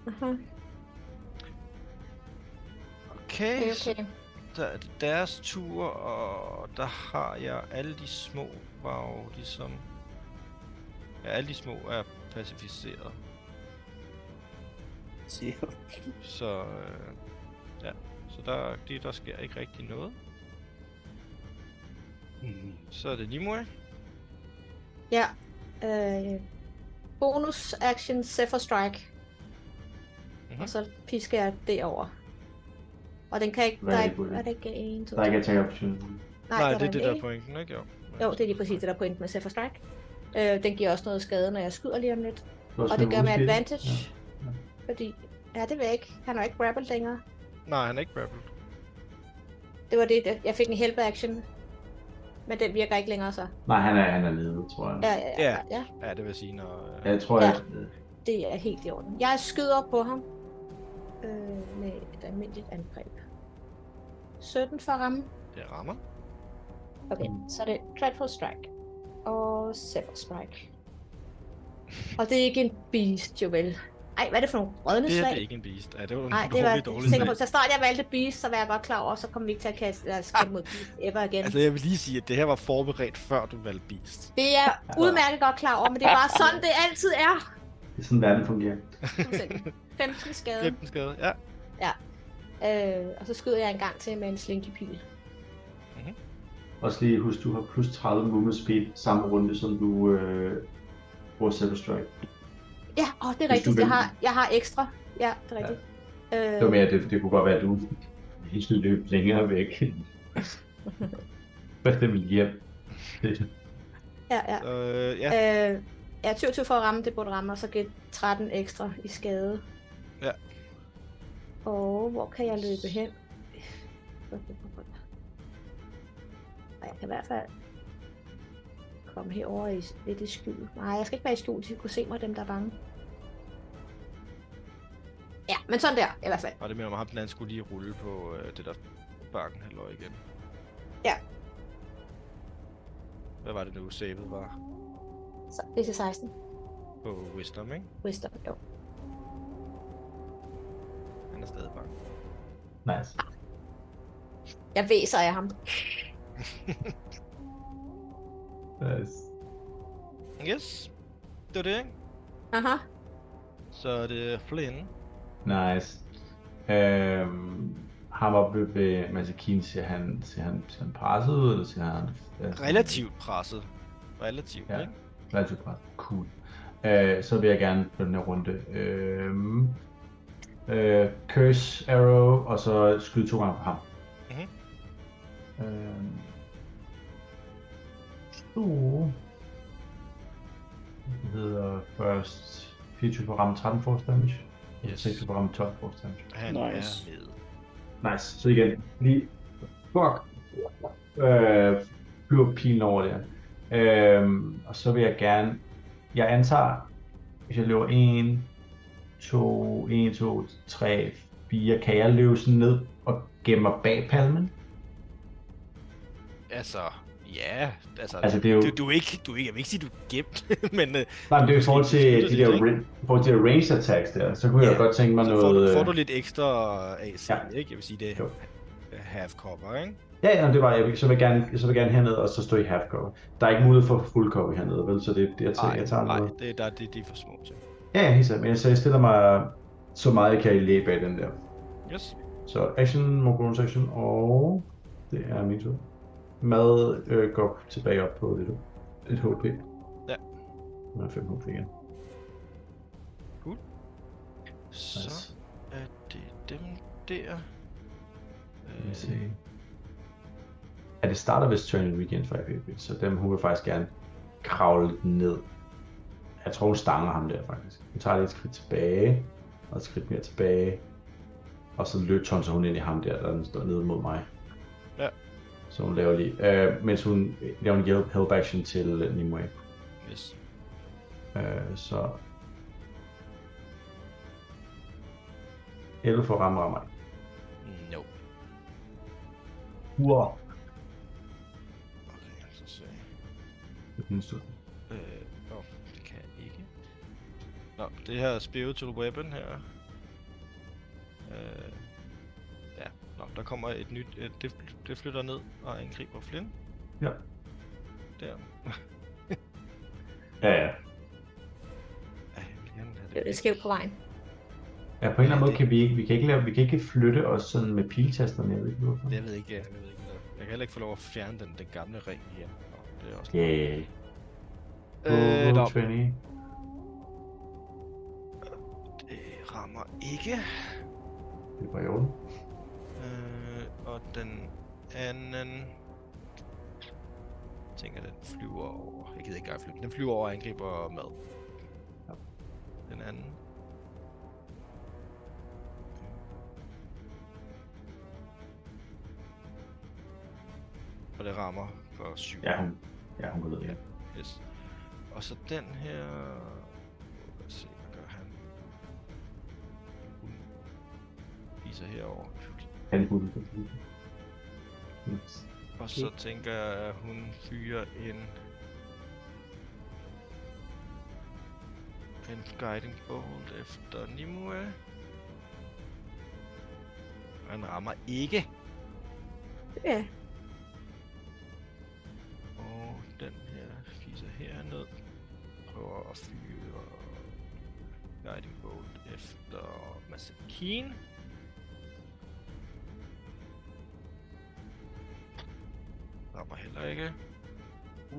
S3: Aha,
S2: Okay,
S3: Okay,
S2: så
S3: Øh, okay.
S2: der er det deres tur, og der har jeg alle de små, var jo ligesom... Ja, alle de små er pacificeret,
S5: Siger.
S2: så... Øh, ja, så der, det, der sker ikke rigtig noget. Så er det Nimue.
S3: Ja. Øh, bonus action Zephyr Strike.
S2: Mhm.
S3: Mm-hmm. Og så pisker jeg det over. Og den kan ikke...
S4: Hvad er
S3: der
S4: det
S3: er,
S4: på
S3: ikke-
S4: det?
S3: er det ikke en, to,
S4: Der er ikke
S3: tre?
S4: attack option.
S3: Nej,
S2: Nej,
S3: er
S2: det er
S3: der
S2: det, der er
S3: ikke.
S2: pointen, ikke? Jo,
S3: Jo, det er lige præcis det, der er pointen med Zephyr Strike. Øh, den giver også noget skade, når jeg skyder lige om lidt.
S4: Du har
S3: Og
S4: også
S3: det
S4: en
S3: gør med
S4: udskilt.
S3: advantage.
S4: Ja. Ja.
S3: Fordi... Ja, det vil jeg ikke. Han har ikke grapple længere.
S2: Nej, han er ikke grappled.
S3: Det var det, der- jeg fik en help action. Men den virker ikke længere så.
S4: Nej, han er, han er nede, tror jeg.
S3: Ja, ja, ja.
S2: Ja.
S3: ja. ja
S2: Ja, det vil sige, når... Øh,
S4: Ja, jeg tror,
S3: Ja.
S4: ja. at...
S3: det er helt i orden. Jeg skyder på ham øh, med et almindeligt angreb. 17 for at ramme.
S2: det rammer.
S3: Okay,
S4: Mm.
S3: så er det Dreadful Strike og Sever Strike. Og det er ikke en beast, jo vel. Ej, hvad er det for nogle rødne
S2: Det her
S3: slag?
S2: det er ikke en beast. Ja, det var en
S3: Nej,
S2: Ej,
S3: det var
S2: dårlig,
S3: jeg
S2: dårlig
S3: sikker på.
S2: sag.
S3: Så snart jeg valgte beast, så var jeg godt klar over, så kom vi ikke til at kaste eller skæmme mod beast ever igen.
S2: Altså, jeg vil lige sige, at det her var forberedt, før du valgte beast.
S3: Det er jeg udmærket godt klar over, men det er bare sådan, det altid er.
S4: Det er sådan, verden fungerer.
S3: Fuldstændig. 15 skade.
S2: 15 skade, ja.
S3: Øh, og så skyder jeg en gang til med en slinky pil.
S4: Også lige husk, du har plus 30 movement speed samme runde, som du øh, bruger Silver Strike.
S3: Ja, åh, det er
S4: du
S3: rigtigt. Jeg
S4: vælger
S3: har, jeg har ekstra. Ja, det er rigtigt. Ja.
S4: Det var mere, det, det kunne godt være, at du hele løb længere væk. For det vil hjem.
S3: ja, ja.
S2: Så, øh, ja,
S3: Øh, ja, 22 for at ramme, det burde ramme, og så giver 13 ekstra i skade.
S2: Ja.
S3: Og hvor kan jeg løbe hen? Og jeg kan i hvert fald komme herover i, lidt i skjul. Nej, jeg skal ikke være i skjul, så de kunne se mig, dem der er bange. Ja, men sådan der, i hvert fald.
S2: og det mener om ham, den anden skulle lige rulle på øh, det der bakken halløj igen.
S3: Ja.
S2: Hvad var det nu, savet var
S3: Så det er til 16.
S2: på Wisdom, ikke?
S3: Wisdom, jo.
S2: Han er stadig bange.
S4: Nice.
S3: Jeg væser af ham.
S4: nice.
S2: Yes, det var det, ikke?
S3: Aha.
S2: Så er det Flynn.
S4: Nice. Øhm, ham oppe ved Masakine, ser han, ser han, ser han presset ud, eller ser han... altså-
S2: Relativt presset. Relativt,
S4: Ja.
S2: ja. ikke?
S4: Relativt presset. Cool. Øh, så vil jeg gerne på den her runde. Øhm, øh, curse, arrow, og så skyde to gange på ham.
S2: Mhm.
S4: Øhm, så... Det hedder først 24 på ramme 13 force damage.
S2: Yes.
S4: Yes. 6 på ramme 12 force damage.
S2: Han
S5: Nice.
S2: er med.
S4: Nice, så igen, lige, fuck, øh, bliver pilen over der. Øh, og så vil jeg gerne, jeg antager, hvis jeg løber 1, 2, 1, 2, 3, 4, kan jeg løbe sådan ned og gemme mig bag palmen?
S2: Altså, ja, altså,
S4: Altså, det er jo-
S2: du, du, er ikke, du er ikke, jeg vil ikke sige, du er gemt, men øh,
S4: Nej, men det er jo i forhold til de
S2: Beskyttelse,
S4: der,
S2: ikke?
S4: ra- i forhold til de der range attacks der, så kunne jeg
S2: Ja,
S4: godt tænke mig
S2: så
S4: noget...
S2: får, du, får
S4: øh,
S2: du lidt ekstra AC,
S4: Ja.
S2: ja. ikke? Jeg vil sige, det
S4: Jo.
S2: er half cover, ikke?
S4: Ja, ja, det var jeg. vil- Så vil jeg gerne, så vil jeg gerne herned og så stå i half cover. Der er ikke mulighed for full cover hernede, vel? Så det, det jeg, tager, jeg tager
S2: nej,
S4: noget.
S2: det, der, det, det er for små til.
S4: Ja, ja, helt sikkert. Men jeg, så jeg stiller mig så meget, jeg kan i læge bag den der.
S2: Yes.
S4: Så action, må bonus action, og det er min tur. Mad øh, går tilbage op på lidt, lidt HP.
S2: Ja.
S4: Hun har 5 HP igen.
S2: Så
S4: Så,
S2: er det dem der.
S4: lad
S2: Øh,
S4: os se. Ja, det starter vist turn in weekend 5 HP, så dem hun vil faktisk gerne kravle ned. Jeg tror, hun stanger ham der faktisk. Hun tager lige et skridt tilbage, og et skridt mere tilbage. Og så løb så hun ind i ham der, der står nede mod mig.
S2: Ja.
S4: Så hun laver lige, øh, mens hun laver en hjælp, help action til øh, Nimue.
S2: yes.
S4: Øh, så... 11 for rammer rammer.
S2: No.
S4: Wow.
S2: Okay, så se.
S4: Det er hendes tur.
S2: Øh, oh, det kan jeg ikke. Nå, det her spiritual weapon her. Øh, ja, nå, der kommer et nyt, øh, det, det flytter ned og angriber Flynn.
S4: Ja.
S2: Der.
S4: Ja, ja.
S2: Ej, jeg vil gerne have
S3: Det er
S2: det.
S3: lidt skævt på vejen.
S4: Ja, på en eller anden måde kan vi ikke, vi kan ikke, lave, vi kan ikke flytte os sådan med piltasterne, jeg ved ikke hvorfor.
S2: Jeg ved ikke, jeg ved ikke. noget. Jeg kan heller ikke få lov at fjerne den, den gamle ring her. Nå, det er også...
S4: Yeah.
S2: Øh, nå,
S4: 20.
S2: det rammer ikke.
S4: Det var i orden.
S2: Øh, og den anden... Jeg tænker, den flyver over... Jeg gider ikke engang flyve. Den flyver over og angriber mad.
S4: Ja.
S2: Den anden. Og det rammer for syv.
S4: Ja, hun, ja, hun går ned igen.
S2: Yes. Og så den her... Lad os se, hvad gør han? Hun viser herover.
S4: Han er fuldt.
S2: Og så tænker jeg, at hun fyrer en... En guiding bolt efter Nimue. Han rammer ikke.
S3: Ja.
S2: Og den her fiser herned. Prøver at fyre Guiding Bolt efter Masakine. Rammer heller ikke.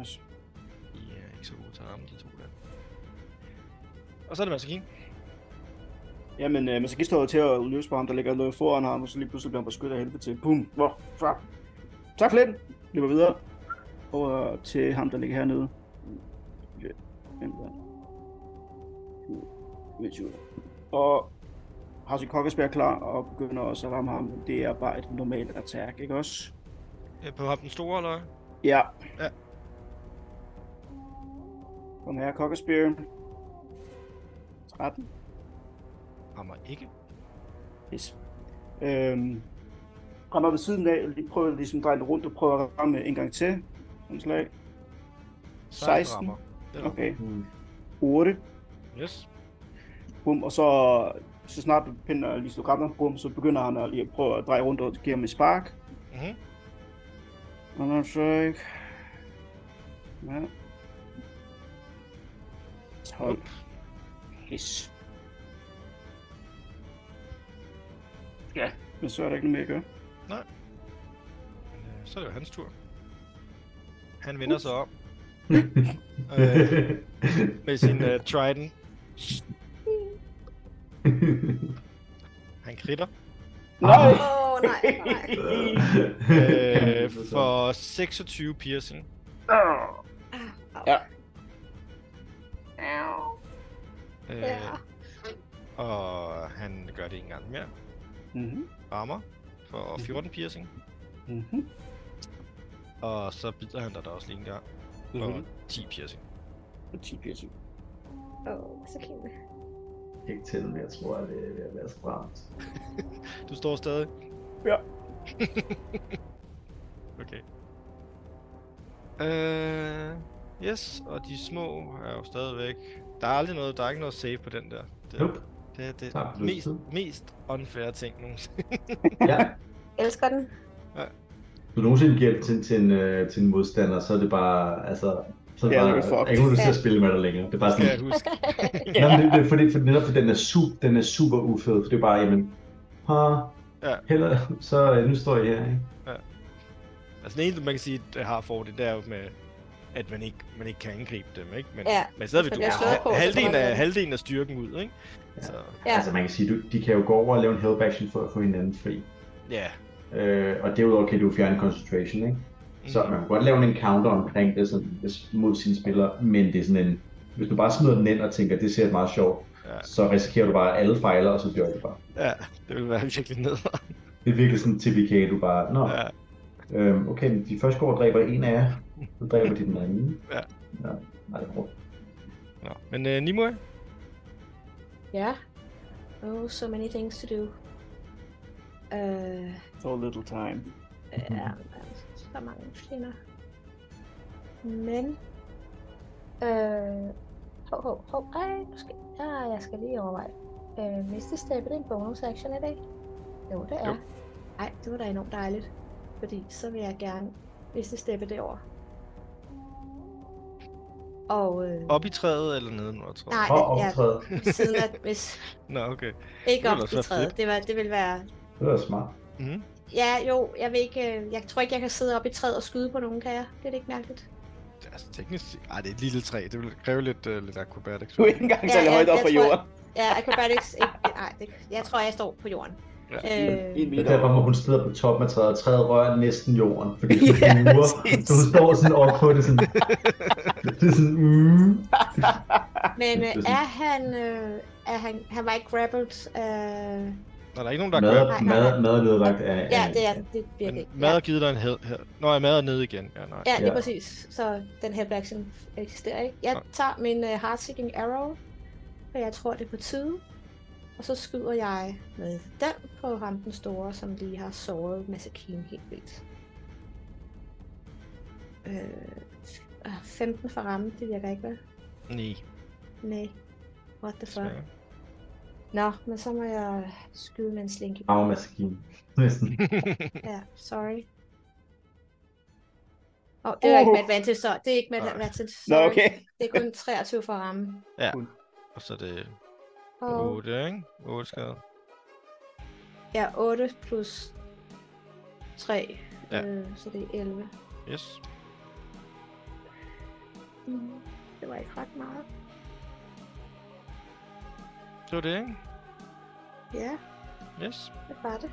S5: Yes.
S2: I er ikke så gode til at ramme de to der. Og så er det Masakine.
S5: Jamen, øh, man skal står jo til at løse på ham, der ligger noget foran ham, og så lige pludselig bliver han beskyttet af helvede til. Boom. Hvor? Fuck. Tak for den. Løber videre. Over til ham, der ligger hernede. Ja, Hvem der? Nu, 24. Og har sin kokkespær klar og begynder også at ramme ham. Det er bare et normalt attack, ikke også?
S2: Øh, På ham den store, eller hvad?
S5: Ja.
S2: Ja.
S5: Kom her, kokkespær. 13.
S2: Rammer ikke.
S5: Yes. Øhm, rammer ved siden af, og lige prøver ligesom at dreje det rundt og prøver at ramme en gang til. Som slag.
S2: Sejt
S5: 16.
S2: rammer. Det rammer.
S5: Okay.
S4: Mm.
S5: 8.
S2: Yes.
S5: Bum, og så, så snart pinden er lige slået græmmer, bum, så begynder han at, lige at prøve at dreje rundt og give ham et spark.
S2: Mhm.
S5: Og han så ikke. Ja. 12. Yes. Ja, men så er der ikke noget mere at gøre.
S2: Men, øh, så er det jo hans tur. Han vender sig om øh,
S4: Øh.
S2: med sin øh, trident. Han kritter
S5: Nej!
S3: Åh, oh, nej, nej.
S2: øh, for 26 piercing.
S5: Ja.
S2: Øh,
S3: Ja.
S2: Og han gør det en gang mere.
S5: Mhm,
S2: Rammer for 14 piercing.
S5: mhm,
S2: Og så bider han dig da også lige en gang for
S5: mhm.
S2: 10 piercing.
S5: Og 10 piercing.
S3: Åh, så kan jeg.
S4: ikke til, men jeg tror, at det er ved at være stramt.
S2: Du står stadig?
S5: Ja.
S2: okay. Øh, yes, og de små er jo stadigvæk... Der er aldrig noget, der er ikke noget save på den der. Det,
S4: Nope.
S2: det er det
S4: Tak for
S2: mest,
S4: lysten.
S2: mest unfair ting nogensinde.
S4: Ja.
S3: Elsker den.
S4: Hvis du nogensinde giver det til, til, en, øh, til en modstander, så er det bare, altså, så er det
S5: Ja,
S4: bare,
S5: det er
S4: er
S5: fucked.
S4: ikke nogen, der
S3: Ja.
S4: skal spille med dig længere. Det er bare
S2: Skal jeg
S4: sådan,
S2: huske.
S4: ja. Nå, men det, er fordi, for netop for den er, super, den er super ufed, for det er bare, jamen, ha,
S2: Ja.
S4: ja. heller, så øh, nu står jeg her, ikke?
S2: Altså den eneste, man kan sige, der har fordel, det er jo med, at man ikke, man ikke kan angribe dem, ikke? Men,
S3: Ja,
S2: men stadigvæk,
S3: hvis
S2: du
S3: man
S4: bliver
S2: har
S3: slået på, så
S2: halvdelen
S3: kommer
S2: af,
S3: den.
S2: halvdelen af styrken ud, ikke?
S4: Ja.
S2: Så,
S3: Ja.
S4: Ja. Altså man kan sige, du, de kan jo gå over og lave en help action for at få hinanden fri.
S2: ja.
S4: Øh, og derudover kan du fjerne concentration, ikke? Så man kan godt lave en encounter omkring det sådan, hvis- mod sine spillere, men det er sådan en, hvis du bare smider den ind og tænker, det ser meget sjovt,
S2: Ja.
S4: ja. så risikerer du bare, at alle fejler, og så dør du bare.
S2: Ja, det vil være virkelig ned.
S4: Det er virkelig sådan en TPK, du bare, nå, ja.
S2: Ja.
S4: øhm, okay, men de første går og dræber en af jer, så dræber de den anden.
S2: Ja.
S4: Nå, nej, det er hårdt.
S2: Nå. Men uh, Nimue,
S3: Ja. Oh, so many things to do. Øh,
S5: So little time.
S2: Mhm.
S3: ja, altså, så mange fjender. Men... Øh, hov, hov, hov, ej, nu skal, ah, jeg skal lige overveje. Øh, næste step, er det en bonus action i dag? Jo, det er.
S2: Jo.
S3: Jo. Ej, det var da enormt dejligt. Fordi så vil jeg gerne næste steppe derover. Og øh,
S2: op i træet eller nedenunder træet?
S3: Nej.
S4: Og
S3: ja.
S4: optræde,
S3: ved siden af, hvis
S2: Nå, okay.
S3: ikke
S2: Det
S3: op
S2: var da
S3: i
S2: så fedt.
S3: træet, det, var, det ville være
S4: det er da smart.
S2: Mm.
S3: Ja, jo, jeg vil ikke, øh, jeg tror ikke, jeg kan sidde oppe i træet og skyde på nogen, kan jeg? Det er det ikke mærkeligt.
S2: Det er altså teknisk set... Ej, det er et lille træ. Det vil kræve lidt, uh, lidt akrobatics.
S5: Du er ikke engang
S3: Ja,
S5: særlig
S3: ja,
S5: højt op
S3: jeg
S5: fra
S3: tror-
S5: jorden.
S3: Ja, acrobatics, ikke, nej, det, jeg tror, jeg står på jorden.
S2: Ja.
S3: Øh,
S5: En
S4: Det er
S5: meter
S4: derfor,
S5: over.
S4: hvor hun sidder på toppen af træet, og træet rører næsten jorden, fordi det
S5: Ja,
S4: er sådan en mur,
S5: præcis.
S4: så hun står sådan over på det, sådan, det er sådan, mm. det
S3: men øh,
S4: er sådan-
S3: er han, øh, er han, han var ikke grappled, øh,
S2: Nå, der er ikke nogen, der
S4: mad,
S2: har
S3: Nej, nej,
S4: mad,
S3: nej.
S4: mad er nedlagt af,
S3: ja,
S4: af-
S3: det er det
S2: gør
S3: bliver det
S2: det.
S3: ikke.
S2: Mad
S3: Ja,
S2: har givet dig en hed her. Nå, jeg mad er nede igen. Ja, nej.
S3: ja, lige
S4: Ja.
S3: præcis, så den help action eksisterer ikke. Jeg
S2: Nej.
S3: tager min øh, heartseeking arrow, for jeg tror, det er på tide. Og så skyder jeg med den på ham den store, som lige har såret Masakine helt vildt. Øh, ah, 15 for ramme, det virker ikke, vel?
S2: Nej.
S3: Nej. What the fuck?
S2: desværre.
S3: Nå, men så må jeg skyde med en slinky.
S4: Arvemaskine. Næsten.
S3: Ja, sorry. Åh, oh, det er ikke med
S5: Uh.
S3: advantage, så. Det er ikke med
S2: Nej.
S3: advantage.
S5: Nå,
S3: sorry.
S5: okay.
S3: Det er kun 23 for ramme.
S2: Og så er det
S3: Og
S2: 8, ikke? 8 skade.
S3: ja, 8 plus 3.
S2: Ja.
S3: Øh, så det er 11.
S2: Yes.
S3: Mm, det var ikke ret meget.
S2: Det var det, ikke?
S3: Ja,
S2: Yes.
S3: det var det.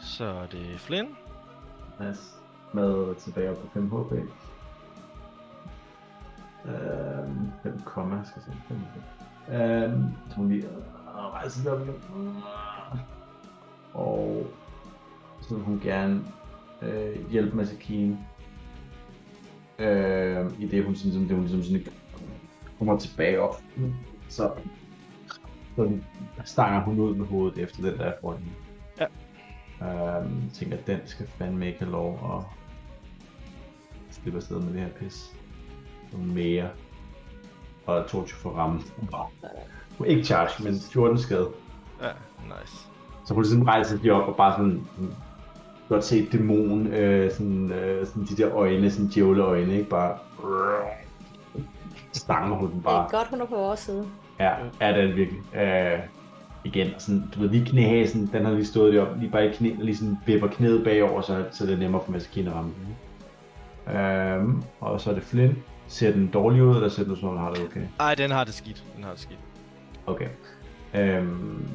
S2: Så er det Flynn.
S4: Nice. Med tilbage op på 5 HP. Øhm, 5 komma, skal jeg sige. 5 HP. Øhm, så må vi lige øh, rejse lidt op igen. Og så vil hun gerne øh, hjælpe Masakine. Øh, I det, hun sådan, som det, hun ligesom sådan kommer tilbage op. Så, så stanger hun ud med hovedet efter den, der er foran hende. Øhm, tænker, at den skal fandme ikke have lov at slippe afsted med det her pis. mere. Og 22 for rammen. Ikke charge, men 14 skade.
S2: Ja, nice.
S4: Så hun sådan rejser de op og bare sådan, sådan godt se dæmonen, øh, sådan, øh, sådan de der øjne, sådan djævleøjne, ikke? Bare stanger hun den
S1: Det er
S4: bare.
S1: godt, hun er på vores side.
S4: Ja, er det er virkelig. Øh, igen, og sådan, du ved, lige knæhæsen, den har lige stået deroppe, lige bare i knæ, og lige sådan vipper knæet bagover, så, så det er nemmere for maskinen at ramme den. ikke? Øhm, og så er det Flynn. Ser den dårlig ud, eller ser den ud, som om den har det okay?
S2: Ej, den har det skidt. Den har det skidt.
S4: Okay. Øhm,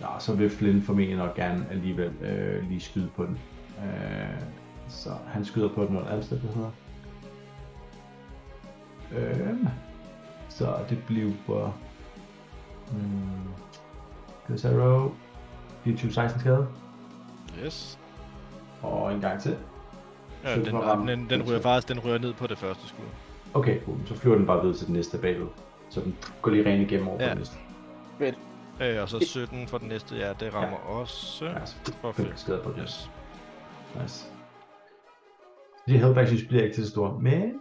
S4: nå, så vil Flynn formentlig nok gerne alligevel øh, lige skyde på den. Øh, så han skyder på den noget andet sted, det hedder. Øhm, så det bliver... Hmm, det er Arrow. 24-16 skade.
S2: Yes.
S4: Og en gang til.
S2: Ja,
S4: Så
S2: den,
S4: får rammen-
S2: den, den, ryger faktisk den ryger ned på det første skud.
S4: Okay, cool. så flyver den bare videre til den næste bagved. Så den går lige rent igennem over ja.
S2: Ja.
S4: på den næste.
S5: Fedt.
S2: Øh, og så 17 for den næste, ja, det rammer også.
S4: Ja, så
S2: For
S4: fem
S2: fedt.
S4: skade på den.
S2: Yes.
S4: Nice. De health actions bliver ikke til det store, men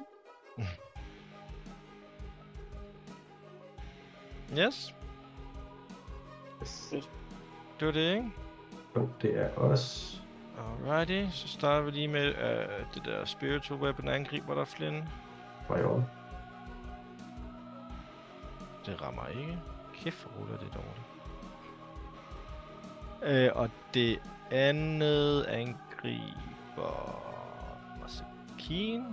S2: Yes, det var det, ikke?
S4: jo, det er os.
S2: Alrighty, så starter vi lige med øh, det der spiritual weapon angriber der, Flynn.
S4: Var i år.
S2: Det rammer ikke. Kæft, hvor ruller det dårligt. Øh, og det andet angriber... Masakin.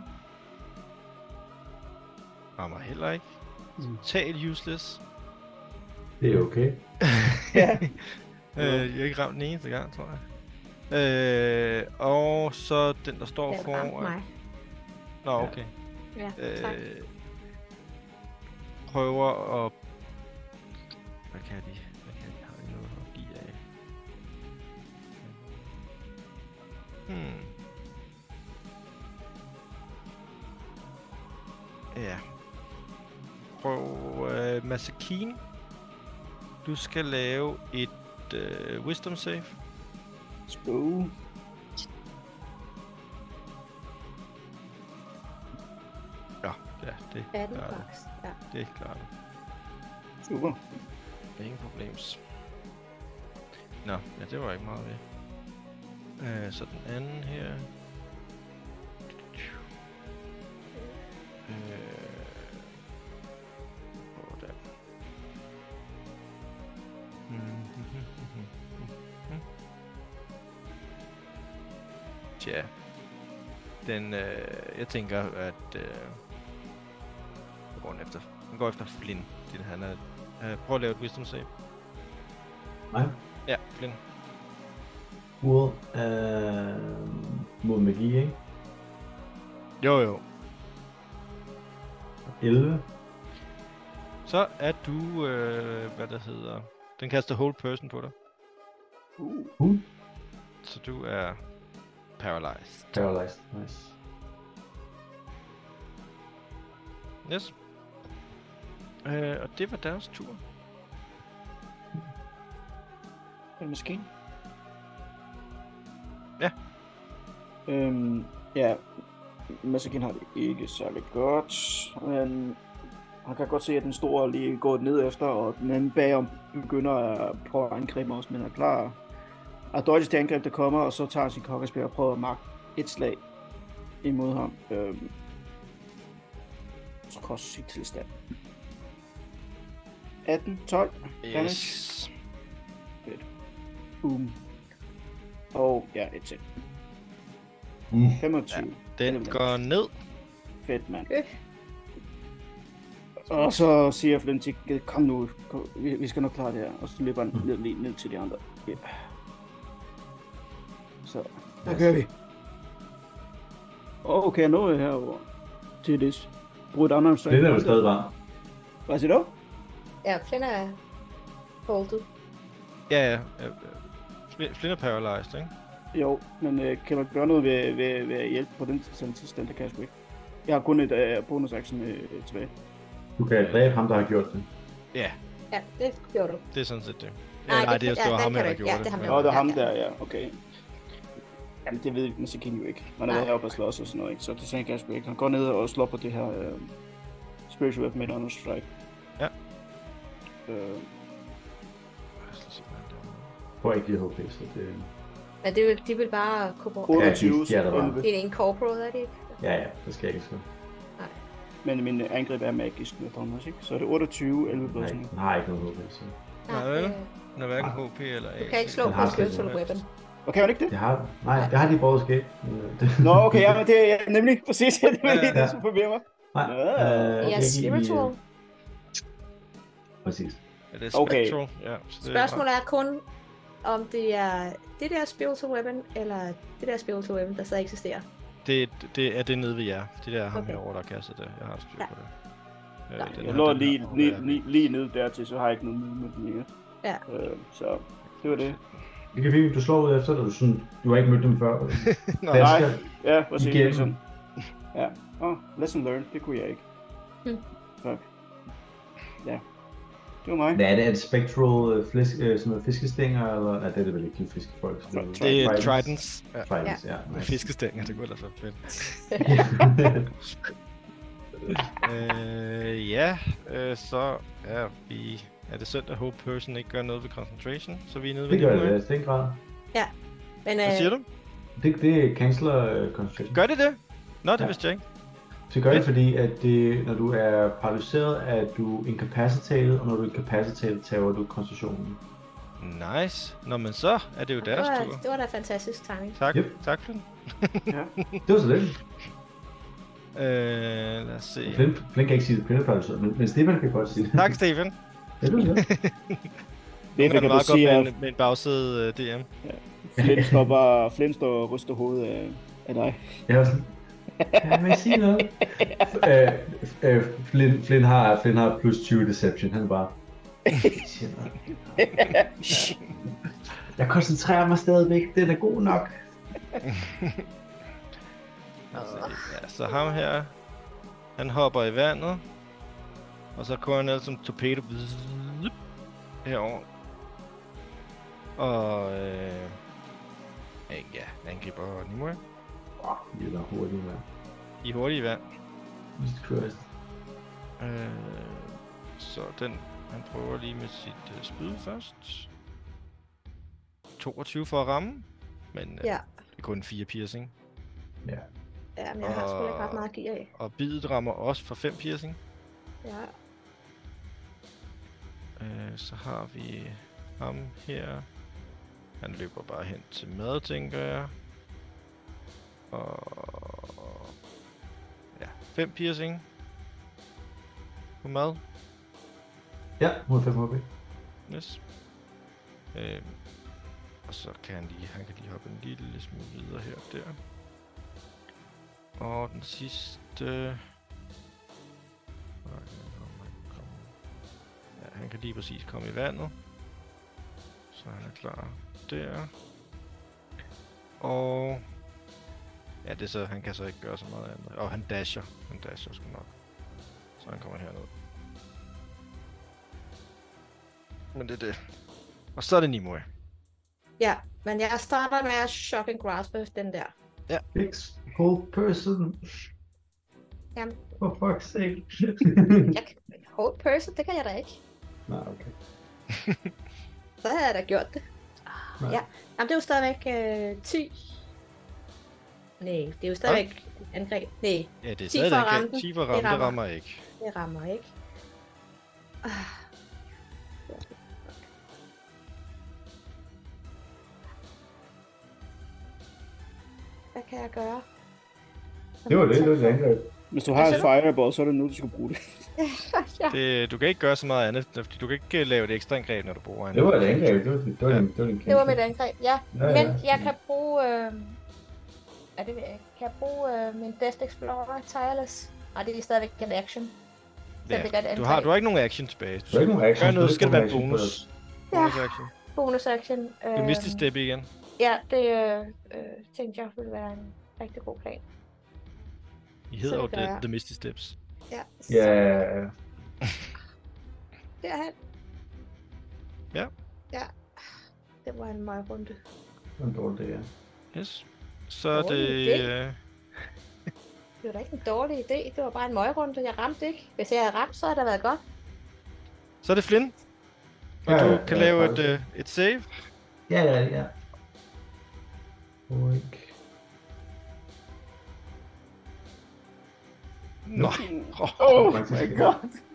S2: Rammer heller ikke.
S5: Mm.
S2: Total useless.
S4: Det er okay.
S5: Ja.
S2: øh, jeg har ikke ramt den eneste gang, tror jeg. Øh, og så den, der står
S3: Den ramte
S2: foran...
S3: mig.
S2: Nå, okay.
S3: Ja, tak.
S2: øh, prøver at... Hvad kan de? Hvad kan de? Har de noget at give af? Hmm. Ja. Prøv øh, Masakin. Du skal lave et øh, Wisdom save.
S5: Spøge.
S2: Ja, det,
S1: 18
S2: Ja.
S1: max. Ja.
S2: det klarer du.
S5: Super.
S2: Ingen problems. Nå, ja, det var ikke meget ved. Øh, så den anden her. Øh, hvor der? Tja. Den, øh, jeg tænker, at... Øh, hvad går den efter? Den går efter Flynn. Det er, han er Øh, prøv at lave et wisdom save.
S4: Nej.
S2: Ja, blind.
S4: Mod, øh, mod magi, ikke?
S2: Jo, jo.
S4: 11.
S2: Så er du, øh, hvad det hedder, den kaster hold person på dig.
S5: Uh.
S4: Uh.
S2: Så du er paralyzed.
S4: Paralyzed. Nice.
S2: Yes. Øh, og det var deres tur.
S5: En maskine?
S2: Ja.
S5: Øhm, ja. Masakin har det ikke særlig godt, men han kan godt se, at den store lige går ned efter, og den anden bagom begynder at prøve at angribe os, men er klar. Og dodge det angreb, der kommer, og så tager han sin kokkespil og prøver at magte et slag imod ham. Øhm, trods sit tilstand. 18, 12, Yes. boom. Og ja, et til.
S4: Mm.
S5: 25. Ja.
S2: Den går ned.
S5: Fedt, mand.
S3: Øh.
S5: Og så siger Flynn til Ged, kom nu, kom, vi, vi skal nok klare det her. Og så løber han
S4: Mm.
S5: ned, lige ned til de andre. Ja. Så, der kører vi. Og kan jeg nå herover til det brudt andre omstræk?
S4: Det der er jo stadig varm.
S5: Hvad siger du?
S3: Ja, Flynn er holdet.
S2: Ja, ja. ja, ja. Fli- Flynn er paralyzed, ikke?
S5: Jo, men øh, kan man gøre noget ved, ved, ved at hjælpe på den sådan tilstand? Det kan jeg sgu ikke. Jeg har kun et øh, bonus action øh, tilbage.
S4: Du kan dræbe ham, der har gjort det.
S3: Ja, det gjorde du.
S2: Det er sådan set det.
S3: Nej,
S2: Nej,
S3: det
S2: det,
S3: kan-
S2: er
S3: ja,
S2: jo ja,
S3: den
S2: ham, her,
S3: kan du
S2: der
S3: ikke.
S2: gjorde
S3: Ja,
S2: det.
S3: det er ham,
S2: men-
S5: Nå, det er
S3: Ja,
S5: ham
S3: ja.
S5: der, ja, okay. Jamen, det ved Masikin jo ikke. Man har
S1: Nej.
S5: været heroppe og slås og sådan noget, ikke? Så det tænker Kasper ikke. Han går ned og slår på det her øh, Spiritual Weapon med en Honor Strike.
S2: Ja.
S5: Øh,
S4: Får ikke lige HP, så det...
S3: Men det vil, de vil bare korporere.
S5: 28,
S4: de- de er der bare.
S5: 11.
S3: Det er en incorporate, er det ikke?
S4: Ja, ja, det skal jeg ikke så.
S5: Men min angreb er magisk med Thomas, ikke? Så er det 28, 11 plus
S4: Nej,
S5: 9.
S4: den har ikke noget HP, så...
S2: Nej,
S3: det-
S2: vel? Den er hverken HP eller
S3: du kan ikke slå
S4: Den
S3: på
S4: har slet
S3: spiritual
S2: ikke.
S3: weapon.
S5: Og kan hun ikke det?
S4: Det har... Nej, det har de prøvet at skabe. men, øh, det-
S5: Nå, okay, ja, men det er ja, nemlig præcis det, var lige
S4: Ja.
S5: det, som forvirrer mig.
S4: Nej,
S5: Nå.
S4: øh,
S3: Ja,
S4: ikke i, øh,
S3: spiritual.
S4: Præcis.
S2: Er det
S5: Okay.
S2: spectral? Ja, så det er
S3: Spørgsmålet er kun, om det er det der spiritual weapon, eller det der spiritual weapon, der stadig eksisterer.
S2: bare- Det, det er det nede ved jer. Det der er ham
S3: Okay.
S2: herovre, der kaster det. Jeg har styr
S3: Ja.
S2: på det. Øh,
S3: Nej.
S2: den her-
S5: Jeg lå
S2: den her
S5: lige,
S2: over
S5: lige,
S2: der.
S5: lige, lige ned dertil, så har jeg ikke noget movement mere.
S3: Ja.
S5: Øh, så det var det.
S4: Det kan vi, du slår ud efter, at du sådan... Du har ikke mødt dem før.
S2: Nå,
S4: Hvad
S5: nej.
S4: skal
S5: Ja, præcis.
S4: Igen.
S5: Ligesom. Ja. Åh, oh, lesson learned. Det kunne jeg ikke.
S3: Hmm.
S5: Tak. Ja. Det var mig.
S4: Hvad er det? Er det spectral øh, flæsk, øh, sådan noget fiskestænger? Eller? Nej, det er det vel ikke de fiskefolk. så
S5: Nå,
S4: er
S2: Det er
S4: tridents.
S2: tridents. Ja.
S4: Tridents, ja.
S2: Med
S4: nice.
S2: fiskestænger, det kunne ellers være fedt. øh, ja, øh, så er vi... Er det søndag, Hope Person ikke gør noget ved concentration? Så vi er nede ved
S4: det gør
S2: niveau
S4: det,
S2: et.
S4: altså, det er en grad.
S3: Men
S2: Hvad siger
S3: øh,
S2: du?
S4: Det, det canceler øh, concentration.
S2: Gør det det? Nå, det
S4: Ja.
S2: vidste jeg ikke.
S4: Det gør det, fordi at det, når du er paralyseret, er du incapacitated, og når du er incapacitated, tager du koncentrationen.
S2: Nice. Nå, men så er det jo
S3: det
S2: deres tur.
S3: var, det var da fantastisk timing.
S2: Tak,
S4: Yep.
S2: tak for den.
S4: Det var så det.
S2: Øh, lad os se.
S4: Flint, Flint kan ikke sige, at Flint er paralyseret, men, men Stefan kan godt sige det.
S2: Tak, Stefan.
S4: Ja, det var det.
S5: Det
S2: Det
S5: kan
S2: er
S5: du
S2: meget godt
S5: sige,
S2: med,
S5: at
S2: en, med en bagside øh, DM.
S5: Flint står bare Flint står og ryster hovedet af, af dig.
S4: Jeg var sådan, ja, må jeg sige noget? øh, øh, Flint, Flint, har, Flint har plus 20 deception, han er bare... "Siger noget." Jeg koncentrerer mig stadigvæk, den er god nok.
S2: Altså, ja, så ham her, han hopper i vandet, og så kører han ned som torpedo Zzzp. herover. Og øh, øh, ja, angriber Nimue
S4: Det er da hurtigt, mand.
S2: i hurtige vand.
S4: Jesus Christ.
S2: Øh, så den, han prøver lige med sit øh, spyd først. 22 for at ramme, men øh,
S3: Ja.
S2: det er kun 4 piercing.
S3: Ja, men jeg har sgu ikke ret meget gear af.
S2: Og bidet rammer også for 5 piercing.
S3: Ja.
S2: Øh, så har vi ham her. Han løber bare hen til mad, tænker jeg. Og... Ja, 5 piercing. På mad.
S4: Ja, 105 HP.
S2: Yes. Øh, og så kan han lige, han kan lige hoppe en lille smule videre her og der. Og den sidste... Hvor er det, han kommer? Han kommer. Ja, han kan lige præcis komme i vandet. Så han er klar der. Og... Ja, det er så, han kan så ikke gøre så meget andet. Og han dasher. Han dasher sgu nok. Så han kommer herned. Men det er det. Og så er det Nimue.
S3: ja, men jeg starter med at shock and grasp den der.
S4: Fix whole person.
S3: Jamen.
S4: For fuck's sake.
S3: Jeg, kan- hold person, det kan jeg da ikke.
S4: Nej, okay.
S3: Så havde jeg da gjort det.
S4: Nej.
S3: Ja. Jamen, det er jo stadigvæk øh, 10. Nej, det er jo stadigvæk angreb. Nej,
S2: Ja, det er
S3: Ti for at ramme
S2: stadigvæk
S3: den.
S2: 10 for
S3: Det
S2: ramme, det
S3: rammer.
S2: rammer ikke.
S3: det rammer ikke. Ah. Hvad kan jeg gøre?
S4: Det var det, det var det angreb.
S5: Hvis du har en fireball, så er det nu, du skal bruge det.
S3: ja.
S2: Det, du kan ikke gøre så meget andet, fordi du kan ikke øh, lave et ekstra angreb, når du bruger en.
S4: Det var et angreb. Det var, det var, en, det var, en
S3: Det var mit angreb, ja.
S4: Ja, ja.
S3: Men jeg kan bruge... Øh... Ja, det ved jeg ikke. Kan jeg bruge øh, min Death Explorer Tireless? Nej, det er stadigvæk en action. Så det gør et
S2: ja.
S3: angreb.
S2: Du har, du har ikke nogen action tilbage. Du
S4: Det var
S2: skal
S4: ikke nogen action.
S2: gøre noget,
S4: det
S2: så skal det
S4: var
S2: være en
S4: action
S2: bonus.
S4: first.
S2: bonus action.
S3: Bonus action. Øh...
S2: Du mister step igen.
S3: Ja, det øh, øh, tænkte jeg ville være en rigtig god plan.
S2: I hedder
S3: så
S2: jo
S3: det gør
S2: The,
S3: jeg.
S2: the Misty Steps.
S3: Ja.
S4: Ja,
S3: Så
S4: yeah.
S3: derhen.
S2: Ja.
S3: Ja. Det var en meget runde.
S4: det var en dårlig idé, ja.
S2: Yes. Så er
S3: Dårlig
S2: det...
S3: idé.
S2: Øh,
S3: Det var da ikke en dårlig idé. Det var bare en møgrunde. Jeg ramte ikke. Hvis jeg havde ramt, så havde det været godt.
S2: så er det Flynn. Og
S4: Ja,
S2: ja,
S4: ja,
S2: du kan
S4: ja,
S2: lave
S4: ja.
S2: et, øh, et save.
S4: Ja, ja, ja. Ryk.
S2: Nå, oh,
S5: Oh my
S4: faktisk ikke.
S5: god.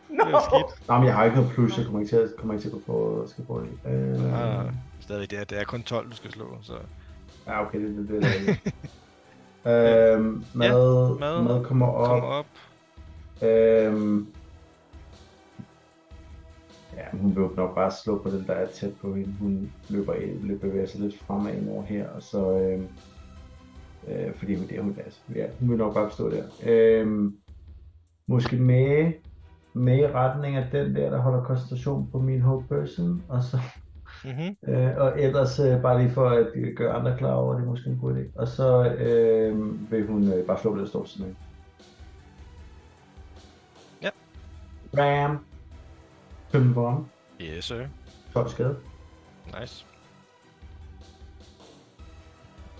S5: No.
S2: det er skidt.
S4: Nå, men jeg har ikke noget plus, jeg kommer ikke til at, kommer ikke til at gå for at skal få det. Øh,
S2: Nej, nej. Stadig, det er, det er kun 12, du skal slå. Så.
S4: Ja, okay, det, det, det er det. øhm, mad, ja, mad,
S2: mad
S4: mad kommer op.
S2: Kom op.
S4: Øhm, ja, hun vil jo nok bare slå på den, der er tæt på hende. Hun løber, løber bevæger sig lidt fremad ind over her, og så... Øhm, øh, fordi hun, det er hun, altså, ja, hun vil nok bare stå der. Øhm, måske med, med i retning af den der, der holder koncentration på min whole person, og så
S2: Mm-hmm.
S4: Øh, og ellers øh, bare lige for at øh, gøre andre klar over, at det er måske en god idé. Og så øh, vil hun øh, bare slå på det, der står ved siden af.
S2: Ja.
S4: Bam. 5 bombe.
S2: Yes, sir.
S4: 12 skade.
S2: Nice.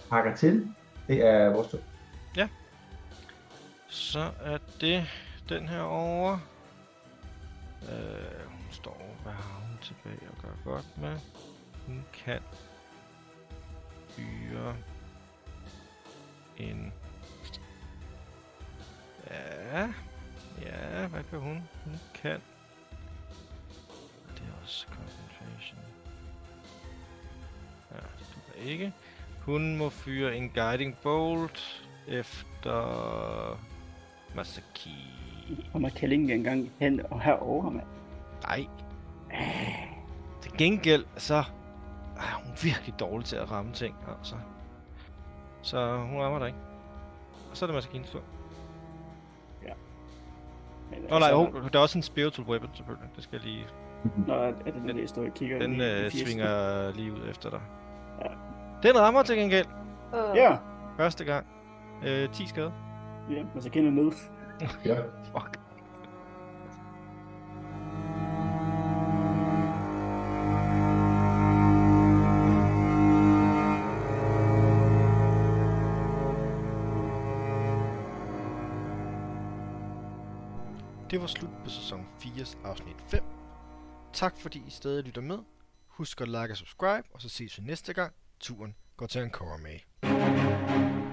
S4: Hakker til. Det er vores tur.
S2: Så er det den her over. Øh, hun står, hvad har hun tilbage at gøre godt med? Hun kan fyre en... Ja, ja, hvad kan hun? Hun kan... Det er også concentration. Ja, det duer ikke. Hun må fyre en guiding bolt efter Masaki.
S5: Og man kan ikke engang hen og herover, mand.
S2: Nej. Til gengæld, så er hun virkelig dårlig til at ramme ting, altså. Så hun rammer dig ikke. Og så er det Masakins tur.
S5: Men,
S2: Nå nej, oh, der er også en spiritual weapon selvfølgelig. Det skal jeg lige...
S5: Nå, er det den, der står og kigger
S2: Den
S5: ind i- i
S2: øh,
S5: fjeset?
S2: svinger lige ud efter dig.
S5: Ja.
S2: Den rammer til gengæld.
S3: Og
S5: Ja,
S2: Første gang. Øh, 10 skade.
S5: ja, men så kender ned.
S4: Ja.
S2: Fuck. Det var slut på sæson 4's afsnit 5. Tak fordi I stadig lytter med. Husk at like og subscribe, og så ses vi næste gang. Turen går til en med.